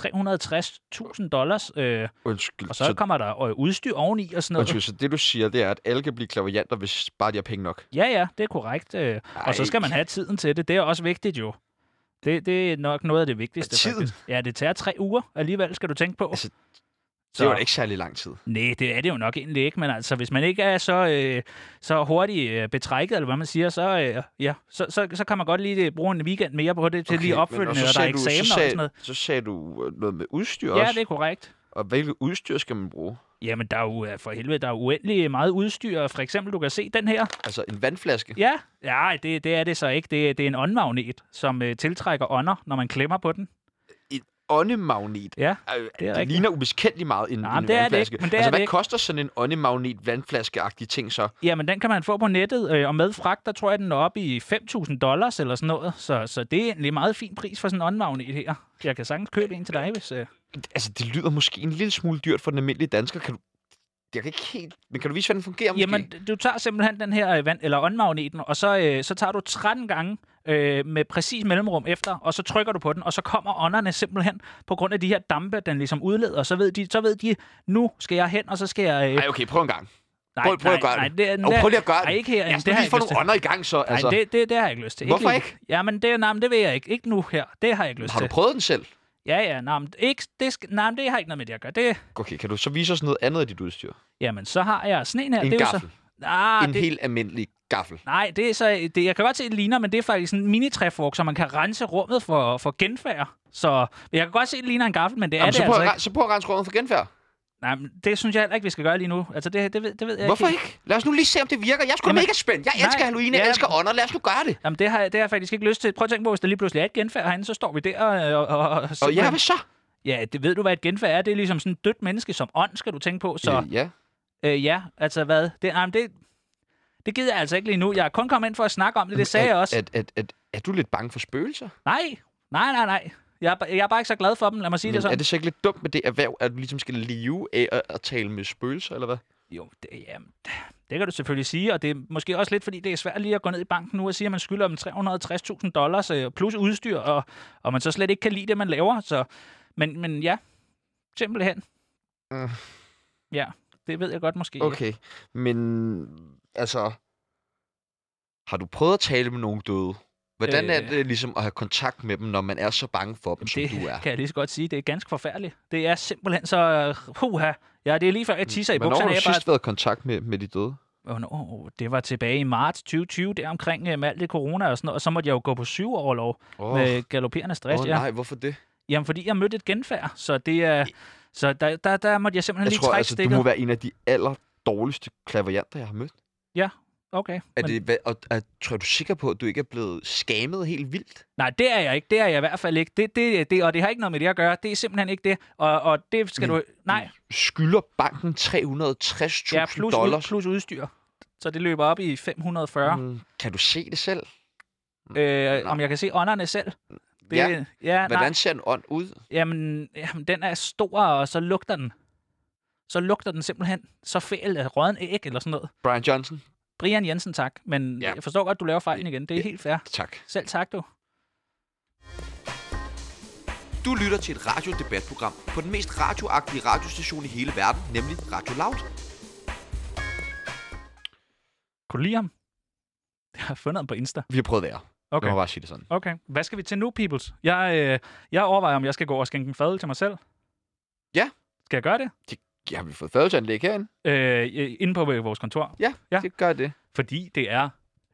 Speaker 1: 360.000 dollars. Øh,
Speaker 2: Undskyld.
Speaker 1: og så, kommer der øh, udstyr oveni og sådan noget.
Speaker 2: Undskyld, så det du siger, det er, at alle kan blive klaverjanter, hvis bare de har penge nok.
Speaker 1: Ja, ja, det er korrekt. Øh, og så skal man have tiden til det. Det er også vigtigt jo. Det, det er nok noget af det vigtigste.
Speaker 2: Tiden?
Speaker 1: Faktisk. Ja, det tager tre uger alligevel, skal du tænke på.
Speaker 2: Altså,
Speaker 1: så,
Speaker 2: Det var da ikke særlig lang tid.
Speaker 1: Nej, det er det jo nok egentlig ikke, men altså, hvis man ikke er så, øh, så hurtigt øh, betrækket, eller hvad man siger, så, øh, ja, så, så, så kan man godt lige øh, bruge en weekend mere på det til okay, lige opfølgende, og,
Speaker 2: så
Speaker 1: der er
Speaker 2: sagde du- så
Speaker 1: eksamener og
Speaker 2: sagde-
Speaker 1: sådan noget.
Speaker 2: Så sagde du øh, noget med udstyr
Speaker 1: Ja,
Speaker 2: også.
Speaker 1: det er korrekt.
Speaker 2: Og hvilket udstyr skal man bruge?
Speaker 1: Jamen, der er jo øh, for helvede, der er uendelig meget udstyr. For eksempel, du kan se den her.
Speaker 2: Altså en vandflaske?
Speaker 1: Ja, ja det, det er det så ikke. Det, er- det er en åndmagnet, som øh, tiltrækker ånder, når man klemmer på den.
Speaker 2: En åndemagnet?
Speaker 1: Ja,
Speaker 2: Øh,
Speaker 1: det er
Speaker 2: det
Speaker 1: rigtigt.
Speaker 2: ligner ubeskendelig meget en,
Speaker 1: Nej,
Speaker 2: en
Speaker 1: men det er det
Speaker 2: vandflaske.
Speaker 1: ikke, men det
Speaker 2: altså,
Speaker 1: er det
Speaker 2: hvad
Speaker 1: ikke.
Speaker 2: koster sådan en åndemagnet vandflaske-agtig ting så?
Speaker 1: Jamen, den kan man få på nettet, øh, og med fragt, der tror jeg, den er oppe i 5.000 dollars eller sådan noget. Så, så det er egentlig en meget fin pris for sådan en åndmagnet her. Jeg kan sagtens købe en til dig, hvis... Øh...
Speaker 2: Altså, det lyder måske en lille smule dyrt for den almindelige dansker. Kan du, jeg kan ikke helt... Men kan du vise, hvordan den fungerer?
Speaker 1: Jamen, du tager simpelthen den her øh, vand, eller åndmagneten, og så, øh, så tager du 13 gange øh, med præcis mellemrum efter, og så trykker du på den, og så kommer ånderne simpelthen på grund af de her dampe, den ligesom udleder, og så ved de, så ved de nu skal jeg hen, og så skal jeg... Øh,
Speaker 2: Nej, okay, prøv en gang.
Speaker 1: nej,
Speaker 2: Prøv, prøv
Speaker 1: nej,
Speaker 2: at gøre
Speaker 1: nej,
Speaker 2: det.
Speaker 1: det er-
Speaker 2: Jo, prøv lige at gøre
Speaker 1: nej, ikke her,
Speaker 2: Jeg
Speaker 1: det
Speaker 2: skal
Speaker 1: har
Speaker 2: lige
Speaker 1: jeg
Speaker 2: få
Speaker 1: ikke lyst
Speaker 2: nogle
Speaker 1: til.
Speaker 2: ånder i gang, så.
Speaker 1: Nej,
Speaker 2: Altså,
Speaker 1: det, det, det har jeg ikke lyst til.
Speaker 2: Hvorfor
Speaker 1: lige-
Speaker 2: ikke?
Speaker 1: Jamen, det, nej, men det vil jeg ikke. Ikke nu her. Det har jeg ikke lyst
Speaker 2: har du
Speaker 1: til.
Speaker 2: prøvet den selv?
Speaker 1: Ja, ja, nej, men, ikke, det, skal- nej, men det har ikke noget med det at gøre. Det,
Speaker 2: Okay, kan du så vise os noget andet af dit udstyr?
Speaker 1: jamen, så har jeg sneen her.
Speaker 2: En
Speaker 1: det er jo
Speaker 2: gaffel.
Speaker 1: Så, ah,
Speaker 2: en
Speaker 1: det,
Speaker 2: helt almindelig gaffel.
Speaker 1: Nej, det er så, det, jeg kan godt se, det ligner, men det er faktisk sådan en minitræfork, så man kan rense rummet for, for genfærd. Så jeg kan godt se, det ligner en gaffel, men det er
Speaker 2: Jamen,
Speaker 1: det
Speaker 2: så, prøv
Speaker 1: altså
Speaker 2: at,
Speaker 1: ikke.
Speaker 2: re- så prøv at rense rummet for genfærd.
Speaker 1: Nej, men det synes jeg heller ikke, vi skal gøre lige nu. Altså, det, det, ved, det ved jeg
Speaker 2: Hvorfor
Speaker 1: ikke.
Speaker 2: ikke? Lad os nu lige se, om det virker. Jeg er sgu da
Speaker 1: Jamen-
Speaker 2: mega spændt. Jeg
Speaker 1: Nej,
Speaker 2: elsker Halloween, jeg
Speaker 1: ja.
Speaker 2: elsker ånder. Lad os nu gøre det.
Speaker 1: Jamen, det har, jeg- det har jeg faktisk ikke lyst til. Prøv at tænke på, hvis der lige pludselig er et genfærd herinde, så står vi der øh, og... og, og, og
Speaker 2: Og ja,
Speaker 1: simpelthen-
Speaker 2: hvad så?
Speaker 1: ja, det ved du, hvad et genfærd er? Det er ligesom sådan et dødt menneske som ånd, skal du tænke på. Så
Speaker 2: Øh, Ja.
Speaker 1: øh, ja, altså hvad? Det, nej, men det, det gider jeg altså ikke lige nu. Jeg er kun kommet ind for at snakke om det, det sagde
Speaker 2: er,
Speaker 1: jeg også.
Speaker 2: Er, er, er, er du lidt bange for spøgelser?
Speaker 1: Nej, nej, nej, nej. Jeg er, ba- jeg er bare ikke så glad for dem, lad mig sige
Speaker 2: Men
Speaker 1: det sådan.
Speaker 2: er det så ikke lidt dumt med det erhverv, at du ligesom skal leve af at, at tale med spøgelser, eller hvad?
Speaker 1: Jo, det, ja, det kan du selvfølgelig sige, og det er måske også lidt, fordi det er svært lige at gå ned i banken nu og sige, at man skylder dem 360.000 dollars øh, plus udstyr, og, og man så slet ikke kan lide det, man laver. Så, men, men ja, simpelthen.
Speaker 2: Mm.
Speaker 1: Ja, det ved jeg godt måske.
Speaker 2: Okay, men altså... Har du prøvet at tale med nogen døde? Hvordan
Speaker 1: Øh.
Speaker 2: er det ligesom at have kontakt med dem, når man er så bange for dem, som
Speaker 1: Det
Speaker 2: du er?
Speaker 1: kan jeg lige så godt sige. Det er ganske forfærdeligt. Det er simpelthen så... øh, Puha. Ja, det er lige før, jeg tisser i
Speaker 2: Mm. Hvornår har
Speaker 1: bukserne.
Speaker 2: du
Speaker 1: Jeg
Speaker 2: sidst
Speaker 1: bare-
Speaker 2: været i kontakt med, med de døde?
Speaker 1: Hvornår? Det var tilbage i marts 2020, der omkring øh, med alt det corona og sådan noget. Og så måtte jeg jo gå på syv overlov
Speaker 2: Åh,
Speaker 1: oh. med galopperende stress.
Speaker 2: åh,
Speaker 1: ja.
Speaker 2: nej, hvorfor det?
Speaker 1: Jamen, fordi jeg mødte et genfærd, så det er... Så der, der, der måtte jeg simpelthen
Speaker 2: Jeg
Speaker 1: lige
Speaker 2: tror,
Speaker 1: trække
Speaker 2: altså, du
Speaker 1: stikket.
Speaker 2: må være en af de aller dårligste klaverjanter, jeg har mødt.
Speaker 1: Okay.
Speaker 2: Er
Speaker 1: men,
Speaker 2: det, hvad, og, er, tror du sikker på, at du ikke er blevet skammet helt vildt?
Speaker 1: Nej, det er jeg ikke. Det er jeg i hvert fald ikke. Det, det, det, og det har ikke noget med det at gøre. Det er simpelthen ikke det. Og, og det skal
Speaker 2: Men-
Speaker 1: du... Nej,
Speaker 2: Skylder banken 360.000
Speaker 1: ja, plus, ud,
Speaker 2: dollars?
Speaker 1: plus udstyr. Så det løber op i 540. Mm.
Speaker 2: Mm, kan du se det selv?
Speaker 1: Øh, om jeg kan se ånderne selv? Det,
Speaker 2: Mm. Ja.
Speaker 1: ja nej.
Speaker 2: Hvordan ser en ånd ud?
Speaker 1: Jamen, jamen, den er stor, og så lugter den. Så lugter den simpelthen så fæl af råden æg eller sådan noget.
Speaker 2: Brian Johnson?
Speaker 1: Brian Jensen, tak. Men
Speaker 2: Ja.
Speaker 1: ja. jeg forstår godt, du laver fejlen igen. Det er
Speaker 2: Ja.
Speaker 1: helt fair.
Speaker 2: Tak.
Speaker 1: Selv tak, du.
Speaker 2: Du lytter til et radiodebatprogram på den mest radioagtige radiostation i hele verden, nemlig Radio Loud.
Speaker 1: Kunne du lide ham? [LAUGHS] Jeg har fundet ham på Insta.
Speaker 2: Vi har prøvet værre. Okay. Jeg må bare sige det sådan.
Speaker 1: okay. Hvad skal vi til nu, peoples? Jeg, øh, jeg overvejer, om jeg skal gå og skænke en fadøl til mig selv.
Speaker 2: Ja.
Speaker 1: Skal jeg gøre det?
Speaker 2: Ja, har vi fået fadelsanlæg herinde?
Speaker 1: Øh, øh, inde på øh, vores kontor.
Speaker 2: Ja,
Speaker 1: Ja.
Speaker 2: det gør det.
Speaker 1: Fordi det er...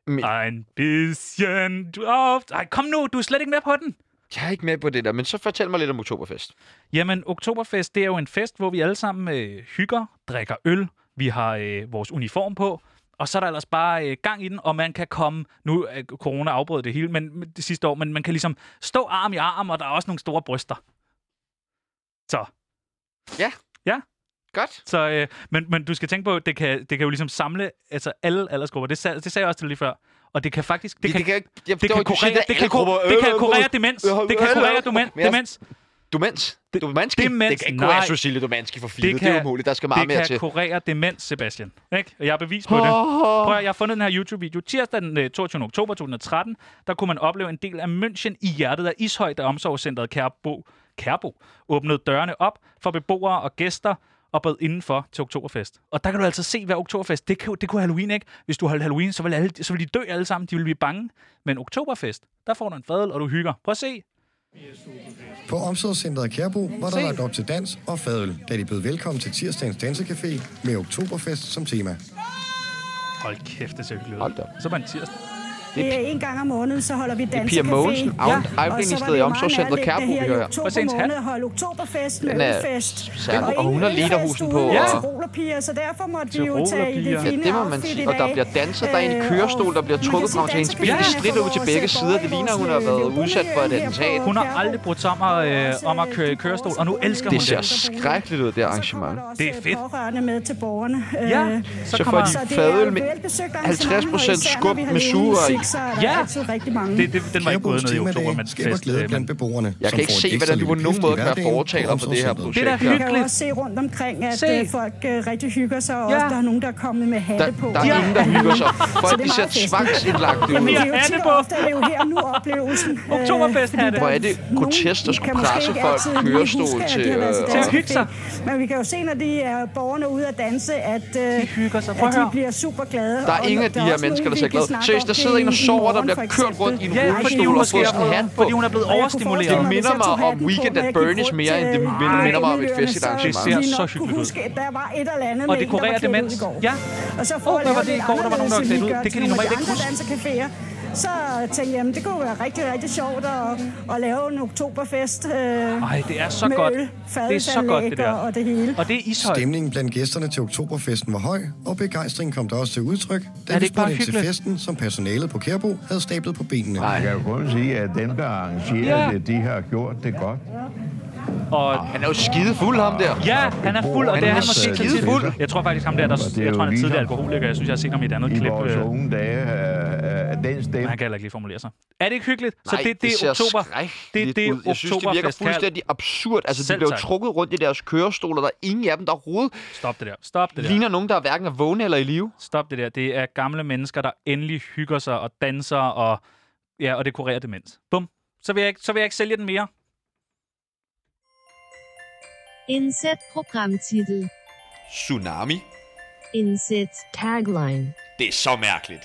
Speaker 2: Men-
Speaker 1: Ein bisschen draft. Ej, kom nu, du er slet ikke med på den.
Speaker 2: Jeg er ikke med på det der, men så fortæl mig lidt om Oktoberfest.
Speaker 1: Jamen, Oktoberfest, det er jo en fest, hvor vi alle sammen øh, hygger, drikker øl, vi har øh, vores uniform på, og så er der ellers bare øh, gang i den, og man kan komme, nu øh, corona afbrød det hele men, men, det sidste år, men man kan ligesom stå arm i arm, og der er også nogle store bryster. Så,
Speaker 2: Godt.
Speaker 1: så øh, men, men du skal tænke på, det kan, det kan jo ligesom samle altså alle aldersgrupper, det, sag- det sagde jeg også til dig lige før, og det kan faktisk, det, kan,
Speaker 2: det kan, ikke-
Speaker 1: det kan
Speaker 2: jeg forstår ikke, du siger,
Speaker 1: kurere,
Speaker 2: der er
Speaker 1: det kan,
Speaker 2: alle grupper.
Speaker 1: kurere, det kan
Speaker 2: Øh,
Speaker 1: kurere demens,
Speaker 2: øh, øh,
Speaker 1: det kan
Speaker 2: øh, øh,
Speaker 1: kurere
Speaker 2: øh,
Speaker 1: demen-
Speaker 2: men jeg-
Speaker 1: demens,
Speaker 2: Demens? Det, Dumanski?
Speaker 1: Demens,
Speaker 2: Det kan ikke være
Speaker 1: nej.
Speaker 2: Cecilie Dumanski for filen.
Speaker 1: Det
Speaker 2: Det, det er
Speaker 1: kan-
Speaker 2: umuligt. Der skal meget
Speaker 1: det
Speaker 2: mere
Speaker 1: kan
Speaker 2: til.
Speaker 1: kurere demens, Sebastian, ikke? Og jeg har bevis på det. Prøv at, jeg har fundet den her YouTube-video. Tirsdag den øh, 22. oktober 2013, der kunne man opleve en del af München i hjertet af Ishøj, da omsorgscentret Kærbo, Kærbo åbnede dørene op for beboere og gæster og bød indenfor til Oktoberfest. Og der kan du altså se, hvad Oktoberfest, det, kan, jo- det kunne Halloween ikke. Hvis du holdt Halloween, så ville, alle, så ville de dø alle sammen, de ville blive bange. Men Oktoberfest, der får du en fadel, og du hygger. Prøv at se.
Speaker 7: På omsorgscentret Kærbo var der lagt op til dans og fadøl, da de bød velkommen til tirsdagens dansecafé med oktoberfest som tema.
Speaker 1: Hold kæft, det ser hyggeligt
Speaker 2: Hold da op.
Speaker 1: ud. Så var en tirsdag.
Speaker 8: Det er en gang om måneden, så holder vi dansecafé.
Speaker 2: Pia Mogensen,
Speaker 8: og
Speaker 2: afd- afdelingsleder
Speaker 8: så var det
Speaker 2: i
Speaker 8: jo
Speaker 2: Omsorgscentret
Speaker 8: meget nærliggende
Speaker 2: Kærbo, vi
Speaker 8: her i
Speaker 2: hører.
Speaker 1: Prøv at se hendes
Speaker 8: Oktober
Speaker 1: hat.
Speaker 8: måned at holde oktoberfest med
Speaker 2: Den er
Speaker 8: ølfest.
Speaker 2: særlig, og hun har lederhosen på,
Speaker 1: Ja.
Speaker 8: Ja. Tirolerpiger, så derfor måtte vi jo tage i
Speaker 1: Tirolerpiger.
Speaker 8: det
Speaker 1: Ja,
Speaker 8: fine
Speaker 2: det må man
Speaker 8: outfit
Speaker 2: sige.
Speaker 8: i
Speaker 2: Og der
Speaker 8: dag.
Speaker 2: bliver danset, der er en
Speaker 8: Øh,
Speaker 2: kørestol,
Speaker 8: og
Speaker 2: der bliver
Speaker 8: man kan
Speaker 2: trukket
Speaker 8: sige,
Speaker 2: frem til hendes ben.
Speaker 8: dansekvinderne
Speaker 2: Det stritter ud
Speaker 8: får
Speaker 2: til begge
Speaker 8: vores
Speaker 2: sider. Det
Speaker 8: borgere i
Speaker 2: ligner,
Speaker 8: vores,
Speaker 2: hun har været
Speaker 8: øh,
Speaker 2: udsat for et
Speaker 8: boligmiljø her
Speaker 2: attentat.
Speaker 8: på
Speaker 1: Hun har
Speaker 8: Kærbo.
Speaker 1: aldrig brudt sig om at, øh, om at køre i kørestol, og nu elsker hun
Speaker 2: Det ser
Speaker 1: det.
Speaker 2: skrækkeligt ud, det arrangement.
Speaker 1: Det er
Speaker 8: Det er
Speaker 1: fedt.
Speaker 8: fedt. øh, pårørende med til borgerne.
Speaker 1: Ja,
Speaker 8: Øh,
Speaker 1: så
Speaker 2: Så får
Speaker 1: kommer...
Speaker 2: de
Speaker 8: så det er
Speaker 2: fadøl
Speaker 8: et
Speaker 2: med
Speaker 8: velbesøgt arrangement, og
Speaker 2: 50%
Speaker 8: især når
Speaker 2: skub
Speaker 8: vi har
Speaker 2: med
Speaker 8: ledige
Speaker 2: sugerør i
Speaker 8: musik, så er der
Speaker 1: Ja.
Speaker 8: ja. altid rigtig mange.
Speaker 1: Det, det, den var ikke gået ned i oktober, men
Speaker 7: skaber
Speaker 1: fest.
Speaker 7: glæde
Speaker 1: øh,
Speaker 7: blandt
Speaker 1: Men
Speaker 7: beboerne,
Speaker 2: Jeg
Speaker 7: som
Speaker 2: kan ikke
Speaker 7: får et
Speaker 2: se,
Speaker 7: ekstra
Speaker 2: hvordan du
Speaker 7: lille
Speaker 2: på nogen
Speaker 7: pift i
Speaker 2: måde kan være
Speaker 7: hverdagen på
Speaker 2: fortaler for det her
Speaker 7: omsorgscenteret.
Speaker 1: Det
Speaker 2: projekt.
Speaker 1: er da
Speaker 8: Man kan jo
Speaker 1: hyggeligt.
Speaker 8: også se rundt omkring, at
Speaker 1: Se.
Speaker 8: se. folk øh, rigtig hygger sig, og
Speaker 1: Ja.
Speaker 8: ja. også der er nogen, der er kommet med hatte
Speaker 2: Der,
Speaker 8: på.
Speaker 2: der er ingen, der hygger
Speaker 8: [LAUGHS]
Speaker 2: sig. Folk,
Speaker 8: det er
Speaker 2: de ser
Speaker 8: meget festligt.
Speaker 2: tvangsindlagt
Speaker 1: Men
Speaker 2: ud.
Speaker 8: Men det er
Speaker 1: Vi
Speaker 8: jo
Speaker 1: har hatte
Speaker 8: tit
Speaker 1: på.
Speaker 8: og ofte, at det er jo her og nu oplevelsen. øh,
Speaker 1: Oktoberfest
Speaker 8: fordi
Speaker 1: hatte.
Speaker 8: der-
Speaker 1: Hvor
Speaker 2: er det
Speaker 8: nogen
Speaker 2: grotesk at skulle
Speaker 8: kan måske
Speaker 2: presse
Speaker 8: ikke
Speaker 2: folk
Speaker 8: altid
Speaker 2: i
Speaker 8: lige
Speaker 2: kørestol
Speaker 8: huske, at de
Speaker 2: til,
Speaker 8: har været
Speaker 2: øh,
Speaker 1: til at hygge sig.
Speaker 8: dansefest. Men vi kan jo se, når de er borgerne ude at danse, at, øh,
Speaker 1: hygger sig. Prøv
Speaker 8: at
Speaker 1: at
Speaker 8: de
Speaker 1: høre.
Speaker 8: bliver super glade.
Speaker 2: Der er ingen af de her mennesker, der ser glade. Seriøst, der sidder en og sover, der bliver kørt rundt i en
Speaker 1: Ja, fordi
Speaker 2: rullestol
Speaker 1: hun
Speaker 2: og
Speaker 1: måske
Speaker 2: får
Speaker 1: er
Speaker 2: sådan en hat
Speaker 1: blevet,
Speaker 2: på.
Speaker 1: fordi hun er blevet overstimuleret.
Speaker 2: Det minder mig om Weekend at Bernie's mere, end det minder mig om et festligt
Speaker 1: arrangement.
Speaker 8: Det
Speaker 1: Det ser så
Speaker 8: ser så
Speaker 1: hyggeligt ud.
Speaker 8: Der var et eller andet
Speaker 1: Og
Speaker 8: med
Speaker 1: det
Speaker 8: en, der var
Speaker 1: kurerer
Speaker 8: klædt ud
Speaker 1: demens.
Speaker 8: i går.
Speaker 1: Ja.
Speaker 8: Og så
Speaker 1: Åh,
Speaker 8: får
Speaker 1: hvad var
Speaker 8: jeg
Speaker 1: det i
Speaker 8: lidt
Speaker 1: går, der var nogen, der var
Speaker 8: anderledes,
Speaker 1: klædt ud?
Speaker 8: end vi gør
Speaker 1: Det kan
Speaker 8: til
Speaker 1: de
Speaker 8: nogle
Speaker 1: normalt
Speaker 8: af
Speaker 1: ikke
Speaker 8: andre dansercaféer. Så tænkte jeg, jamen, det kunne være rigtig, rigtig sjovt at, at lave en oktoberfest. Øh,
Speaker 1: Ej, det er så
Speaker 8: med
Speaker 1: godt.
Speaker 8: Øl,
Speaker 1: Det er så godt, det
Speaker 8: fadelsanlæg
Speaker 1: der.
Speaker 8: Og, og det hele.
Speaker 1: Og det er Ishøj.
Speaker 7: Stemningen blandt gæsterne til oktoberfesten var høj, og begejstringen kom der også til udtryk, da
Speaker 1: det
Speaker 7: vi
Speaker 1: ikke bare
Speaker 7: spurgte ind til
Speaker 1: hyggeligt?
Speaker 7: festen, som personalet på Kærbo havde stablet på benene.
Speaker 9: Jeg kan jo kun sige, at dem, der arrangerer
Speaker 1: Ja.
Speaker 9: ja. det, de har gjort det godt.
Speaker 1: Og
Speaker 2: Han er jo skide fuld, ham der.
Speaker 1: ja, han er fuld, og det er han
Speaker 2: er
Speaker 1: måske ikke
Speaker 2: skide fuld.
Speaker 1: Jeg tror faktisk, ham der,
Speaker 9: Og det
Speaker 1: der
Speaker 9: er
Speaker 1: jeg tror,
Speaker 9: jo
Speaker 1: han er tidligere
Speaker 9: ligesom-
Speaker 1: alkoholiker. Jeg synes, jeg har set ham i et andet
Speaker 9: I
Speaker 1: klip.
Speaker 9: vores
Speaker 1: øh,
Speaker 9: unge dage, øh, øh, den
Speaker 1: Men
Speaker 9: stemme.
Speaker 1: han kan heller ikke lige formulere sig. Er det ikke hyggeligt? Så
Speaker 2: Nej,
Speaker 1: det, det,
Speaker 2: ser
Speaker 1: er oktober.
Speaker 2: skrækkeligt ud. Jeg synes, det virker
Speaker 1: oktoberfest her.
Speaker 2: fuldstændig absurd. Altså, de
Speaker 1: Selv
Speaker 2: bliver jo
Speaker 1: tak.
Speaker 2: trukket rundt i deres kørestoler. Der er ingen af dem, der overhovedet
Speaker 1: Stop det der. Stop det der.
Speaker 2: ligner nogen, der er hverken er vågne eller i live.
Speaker 1: Stop det der. Det er gamle mennesker, der endelig hygger sig og danser og, ja, og dekorerer demens. Bum. Så vil, jeg ikke, så vil jeg ikke sælge den mere.
Speaker 4: Inset programtitel.
Speaker 2: Tsunami.
Speaker 4: Inset tagline.
Speaker 2: Det er så mærkeligt.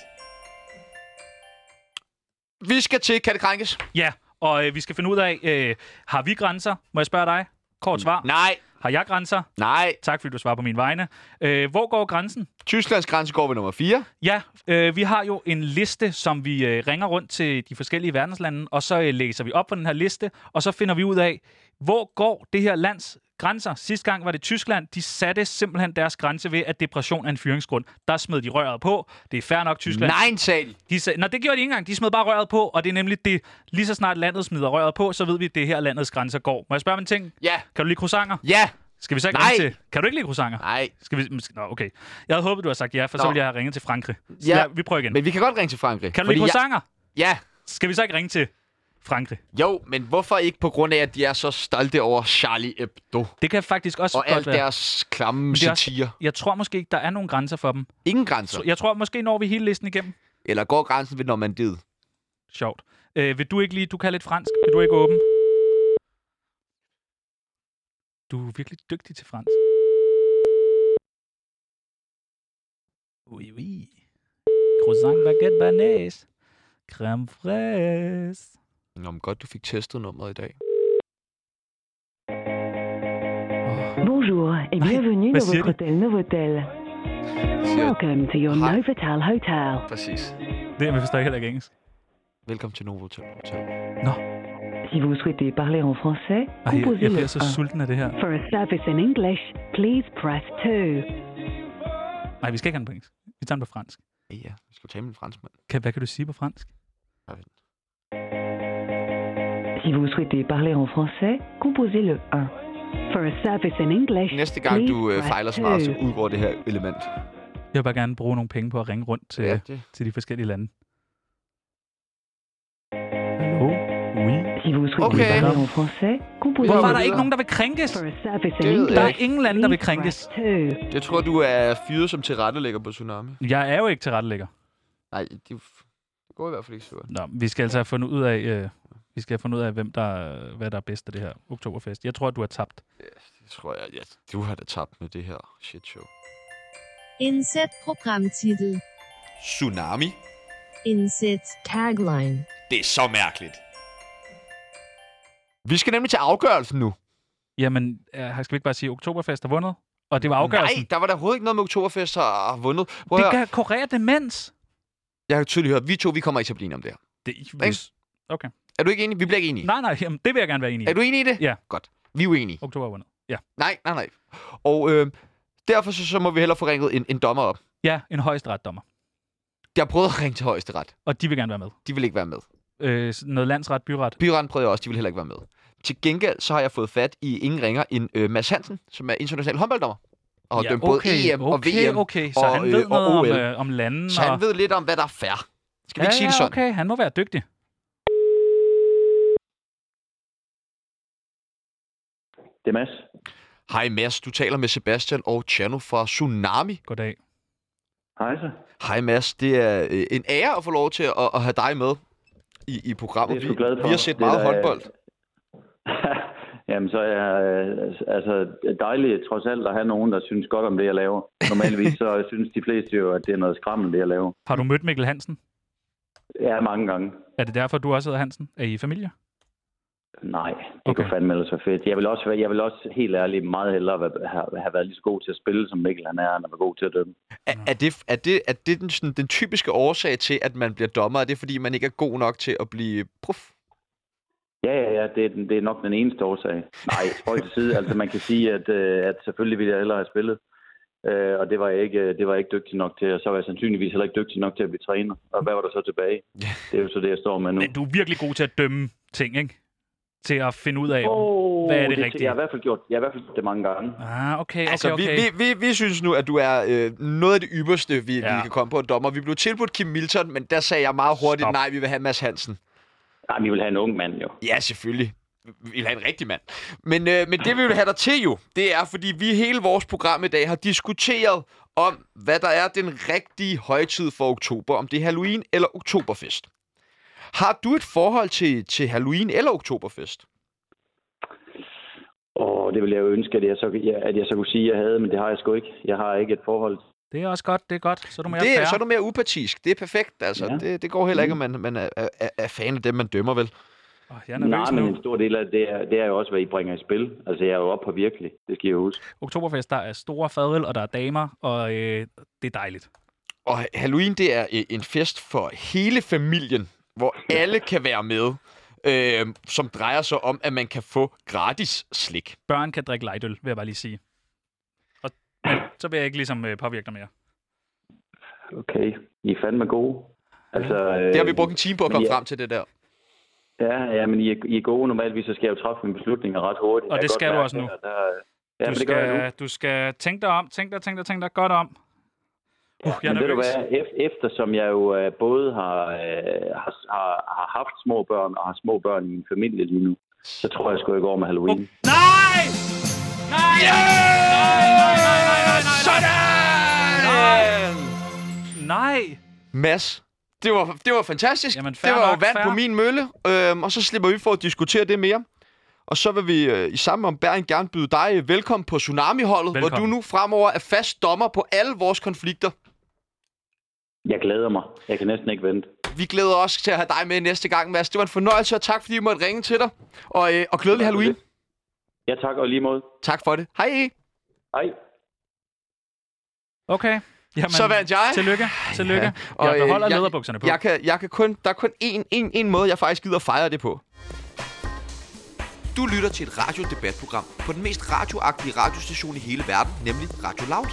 Speaker 2: Vi skal til Kan det krænkes?
Speaker 1: Ja, og øh, vi skal finde ud af, øh, har vi grænser? Må jeg spørge dig? Kort svar.
Speaker 2: Nej,
Speaker 1: Har jeg grænser?
Speaker 2: nej.
Speaker 1: Tak fordi du svarer på min vegne. Øh, hvor går grænsen?
Speaker 2: Tysklands grænse går ved nummer 4.
Speaker 1: Ja, øh, vi har jo en liste, som vi øh, ringer rundt til de forskellige verdenslande, og så øh, læser vi op på den her liste, og så finder vi ud af, hvor går det her lands grænser. Sidste gang var det Tyskland. De satte simpelthen deres grænse ved, at depression er en fyringsgrund. Der smed de røret på. Det er fair nok, Tyskland.
Speaker 2: Nej, en sal.
Speaker 1: De sag... Nå, det gjorde de ikke engang. De smed bare røret på, og det er nemlig det. Lige så snart landet smider røret på, så ved vi, at det her landets grænser går. Må jeg spørge om en ting?
Speaker 2: Ja,
Speaker 1: Kan du lide croissanter?
Speaker 2: ja.
Speaker 1: Skal vi så ikke
Speaker 2: Nej.
Speaker 1: ringe til... Kan du ikke lide croissanter?
Speaker 2: Nej,
Speaker 1: Skal vi... Nå, okay. Jeg havde håbet, du havde sagt ja, for Nå. så
Speaker 2: Nå.
Speaker 1: ville jeg have ringet til Frankrig. Så
Speaker 2: Ja.
Speaker 1: ja. vi prøver igen.
Speaker 2: men vi kan godt ringe til Frankrig.
Speaker 1: Kan du
Speaker 2: fordi
Speaker 1: lide
Speaker 2: jeg-
Speaker 1: croissanter?
Speaker 2: Ja,
Speaker 1: Skal vi så ikke ringe til Frankrig?
Speaker 2: jo, men hvorfor ikke på grund af, at de er så stolte over Charlie Hebdo
Speaker 1: Det kan faktisk også
Speaker 2: og
Speaker 1: godt
Speaker 2: alt
Speaker 1: være.
Speaker 2: deres klamme
Speaker 1: det er også-
Speaker 2: satire?
Speaker 1: Jeg tror måske ikke, der er nogen grænser for dem.
Speaker 2: Ingen grænser.
Speaker 1: Jeg tror måske når vi hele listen igennem.
Speaker 2: Eller går grænsen ved Normandiet?
Speaker 1: Sjovt. Øh, vil du ikke lige... Du kan lidt fransk. Vil du ikke åbne? Du er virkelig dygtig til fransk. Oui, oui. Croissant baguette banæs. Creme fraise.
Speaker 2: Nå, men godt, du fik testet nummeret i dag.
Speaker 10: Bonjour et
Speaker 1: Nej,
Speaker 10: bienvenue
Speaker 1: hvad
Speaker 10: dans
Speaker 1: siger
Speaker 10: votre hôtel Novotel.
Speaker 2: Siger,
Speaker 10: Welcome to your
Speaker 2: Hi.
Speaker 10: Novotel Hotel.
Speaker 2: præcis.
Speaker 1: Det jeg forstår jeg heller ikke engelsk.
Speaker 2: Velkommen til Novo Hotel. Hotel.
Speaker 10: Si vous souhaitez parler en français,
Speaker 1: Ej, jeg,
Speaker 10: composez
Speaker 1: jeg
Speaker 10: le
Speaker 1: bliver så
Speaker 10: 1.
Speaker 1: sulten af det her.
Speaker 10: For a service in English, please press 2.
Speaker 1: Nej, vi skal ikke have den på engelsk. Vi tager den på fransk.
Speaker 2: Ja, Ja, vi skal jo tale med en franskmand.
Speaker 1: Kan, hvad kan du sige på fransk?
Speaker 10: Si vous souhaitez parler en français, composez le 1. For a service in English,
Speaker 2: Næste gang,
Speaker 10: please
Speaker 2: du øh,
Speaker 10: press
Speaker 2: fejler så meget,
Speaker 10: 2.
Speaker 2: så udgår det her element.
Speaker 1: Jeg vil bare gerne bruge nogle penge på at ringe rundt til, ja.
Speaker 2: det.
Speaker 1: til de forskellige lande. Hallo? Oui.
Speaker 10: Si vous souhaitez
Speaker 2: Okay.
Speaker 10: parler en français, composez le
Speaker 1: Hvorfor er der
Speaker 2: videre.
Speaker 1: ikke nogen, der vil krænkes?
Speaker 10: For a service
Speaker 2: Det
Speaker 10: in
Speaker 2: ved jeg
Speaker 10: English,
Speaker 1: Der er ingen lande, der vil
Speaker 10: please
Speaker 1: krænkes.
Speaker 10: press 2.
Speaker 2: Jeg tror, du er fyret som tilrettelægger på Tsunami.
Speaker 1: Jeg er jo ikke tilrettelægger.
Speaker 2: Nej, det det går i hvert fald ikke så godt.
Speaker 1: Nå, vi skal altså have fundet ud af, øh, vi skal have fundet ud af hvem der, hvad der er bedst af det her oktoberfest. Jeg tror, at du har tabt.
Speaker 2: Det tror jeg, ja, du har da tabt med det her shit show.
Speaker 4: Inset programtitel.
Speaker 2: Tsunami?
Speaker 4: Inset tagline.
Speaker 2: Det er så mærkeligt. Vi skal nemlig til afgørelsen nu.
Speaker 1: Jamen, øh, skal vi ikke bare sige, at oktoberfest har vundet? Og det var afgørelsen.
Speaker 2: Nej, der var der overhovedet ikke noget med Oktoberfest har vundet. Prøv
Speaker 1: det
Speaker 2: at høre.
Speaker 1: kan kurere demens.
Speaker 2: Jeg har tydeligt hørt, vi to vi kommer ikke til at blive enige om det her.
Speaker 1: Det,
Speaker 2: Ikke?
Speaker 1: Okay.
Speaker 2: Er du ikke enig? Vi bliver ikke enige.
Speaker 1: Nej, nej, jamen, det vil jeg gerne være enig i.
Speaker 2: Er du enig i det?
Speaker 1: Ja.
Speaker 2: Godt. Vi er uenige.
Speaker 1: Oktober har vundet. Ja.
Speaker 2: Nej, nej, nej. Og øh, derfor så, så må vi hellere få ringet en, en dommer op.
Speaker 1: ja, en højesteretsdommer.
Speaker 2: Jeg har prøvet at ringe til højesteret.
Speaker 1: Og de vil gerne være med.
Speaker 2: De vil ikke være med.
Speaker 1: Øh, sådan noget landsret, byret.
Speaker 2: Byretten prøvede jeg også, de vil heller ikke være med. Til gengæld så har jeg fået fat i ingen ringer end øh, Mads Hansen, som er international håndbolddommer. Og har dømt både EM
Speaker 1: okay,
Speaker 2: og VM.
Speaker 1: Okay, så
Speaker 2: og,
Speaker 1: han ved
Speaker 2: øh, og
Speaker 1: noget om,
Speaker 2: OL.
Speaker 1: øh, om landen.
Speaker 2: Så
Speaker 1: og...
Speaker 2: han ved lidt om, hvad der er fair. Skal vi ikke
Speaker 1: ja,
Speaker 2: sige det
Speaker 1: ja,
Speaker 2: sådan?
Speaker 1: okay, han må være dygtig.
Speaker 11: Det er Mads.
Speaker 2: Hej Mads, du taler med Sebastian og Chano fra Tsunami.
Speaker 1: Goddag.
Speaker 11: Hej så.
Speaker 2: Hej Mads, det er øh, en ære at få lov til at, at have dig med i, i programmet.
Speaker 11: Det er jeg sgu glad for.
Speaker 2: Vi har set
Speaker 11: Det er
Speaker 2: meget
Speaker 11: da-
Speaker 2: håndbold.
Speaker 11: [LAUGHS] Jamen, så er jeg øh, altså, dejligt trods alt at have nogen, der synes godt om det, jeg laver. Normalvis så [LAUGHS] synes de fleste jo, at det er noget skrammel, det jeg laver.
Speaker 1: Har du mødt Mikkel Hansen?
Speaker 11: Ja, mange gange.
Speaker 1: Er det derfor, du også hedder Hansen? Er I familie?
Speaker 11: Nej, det okay. kunne fandme ellers være fedt. Jeg vil også, være- jeg vil også helt ærligt meget hellere være- have, have været lige så god til at spille, som Mikkel han er, end at være god til at dømme.
Speaker 2: Er, er det, er det, er det den, sådan, den typiske årsag til, at man bliver dommer? Er det, fordi man ikke er god nok til at blive prof?
Speaker 11: Ja, ja, ja, det er, den- det er nok den eneste årsag. Nej, spøj til side. Altså, man kan sige, at, øh, at selvfølgelig ville jeg hellere have spillet. Øh, og det var, jeg ikke, øh, det var jeg ikke dygtig nok til, og så var jeg sandsynligvis heller ikke dygtig nok til at blive træner. Og hvad var der så tilbage? Det er jo så det, jeg står med nu.
Speaker 1: Men du er virkelig god til at dømme ting, ikke? Til at finde ud af,
Speaker 11: Åh,
Speaker 1: oh, hvad er det,
Speaker 11: Jeg
Speaker 1: rigtige.
Speaker 11: har i hvert fald gjort, jeg har i hvert fald gjort det mange gange.
Speaker 1: Ah, okay, okay,
Speaker 2: altså,
Speaker 1: okay.
Speaker 2: Vi, vi, vi, vi synes nu, at du er øh, noget af det ypperste, vi, ja. vi kan komme på en dommer. Vi blev tilbudt Kim Milton, men der sagde jeg meget hurtigt, Stop. nej, vi vil have Mads Hansen.
Speaker 11: Nej, vi vil have en ung mand, jo.
Speaker 2: Ja, selvfølgelig. Vi vil have en rigtig mand. Men, øh, men det, vi vil have dig til jo, det er, fordi vi hele vores program i dag har diskuteret om, hvad der er den rigtige højtid for oktober. Om det er Halloween eller oktoberfest. Har du et forhold til, til Halloween eller oktoberfest?
Speaker 11: Åh, det ville jeg jo ønske, at jeg, så, at jeg så kunne sige, at jeg havde, men det har jeg sgu ikke. Jeg har ikke et forhold.
Speaker 1: Det er også godt, det er godt. Så er du mere
Speaker 2: Det,
Speaker 1: fair.
Speaker 2: er, så er du mere upartisk. Det er perfekt, altså. Ja. Det, det går heller ikke, at man, man er, er, er fan af dem, man dømmer, vel?
Speaker 1: Oh,
Speaker 11: Nej, men en stor del af det er, det er jo også, hvad I bringer i spil. Altså, jeg er jo oppe på virkelig. Det skal jeg huske.
Speaker 1: Oktoberfest, der er store fadøl, og der er damer, og øh, det er dejligt.
Speaker 2: Og Halloween, det er øh, en fest for hele familien, hvor alle kan være med, øh, som drejer sig om, at man kan få gratis slik.
Speaker 1: Børn kan drikke lightøl, vil jeg bare lige sige. Og, men så vil jeg ikke ligesom øh, påvirke dig mere.
Speaker 11: Okay, I er fandme gode. Altså,
Speaker 2: Det har vi brugt en time på at
Speaker 11: men
Speaker 2: komme
Speaker 11: ja.
Speaker 2: frem til det der.
Speaker 11: Ja, ja, men I er, I er gode normalvis, så skal jeg jo træffe mine beslutninger ret hurtigt.
Speaker 1: Og
Speaker 11: Jeg
Speaker 1: det
Speaker 11: kan
Speaker 1: skal
Speaker 11: godt
Speaker 1: du
Speaker 11: mærke
Speaker 1: også nu.
Speaker 11: det, og der- Ja,
Speaker 1: du,
Speaker 11: men det gør jeg nu.
Speaker 1: skal, du skal tænke dig om, tænke dig, tænke dig, tænke dig godt om. Uh, jeg er
Speaker 11: Men ved du
Speaker 1: nervøs.
Speaker 11: hvad, Ef- eftersom jeg jo øh, både har, øh, har, har, har haft små børn og har små børn i min familie lige nu, så tror jeg sgu, jeg går med Halloween.
Speaker 1: Nej! Nej!
Speaker 2: Yeah! Sådan!
Speaker 1: Nej!
Speaker 2: Mads, det var, det var fantastisk. Jamen,
Speaker 1: fair
Speaker 2: det var jo
Speaker 1: nok,
Speaker 2: vand
Speaker 1: fair.
Speaker 2: på min mølle, øh, og så slipper vi for at diskutere det mere. Og så vil vi øh, i samme ombæring gerne byde dig øh, velkommen på Tsunami-holdet, velkommen. hvor du nu fremover er fast dommer på alle vores konflikter.
Speaker 11: Jeg glæder mig. Jeg kan næsten ikke vente.
Speaker 2: Vi glæder os til at have dig med næste gang, Mads. Det var en fornøjelse, og tak fordi vi måtte ringe til dig. Og, øh, og glædelig Halloween.
Speaker 11: Ja, tak og lige måde.
Speaker 2: Tak for det. Hej.
Speaker 11: Hej.
Speaker 1: Okay. Jamen,
Speaker 2: Så vandt jeg.
Speaker 1: Tillykke, tillykke. Ja. Jeg
Speaker 2: øh,
Speaker 1: beholder lederbukserne på.
Speaker 2: Jeg kan, jeg kan kun, der er kun én, én, én måde, jeg faktisk gider fejre det på. Du lytter til et radiodebatprogram på den mest radioagtige radiostation i hele verden, nemlig Radio Loud.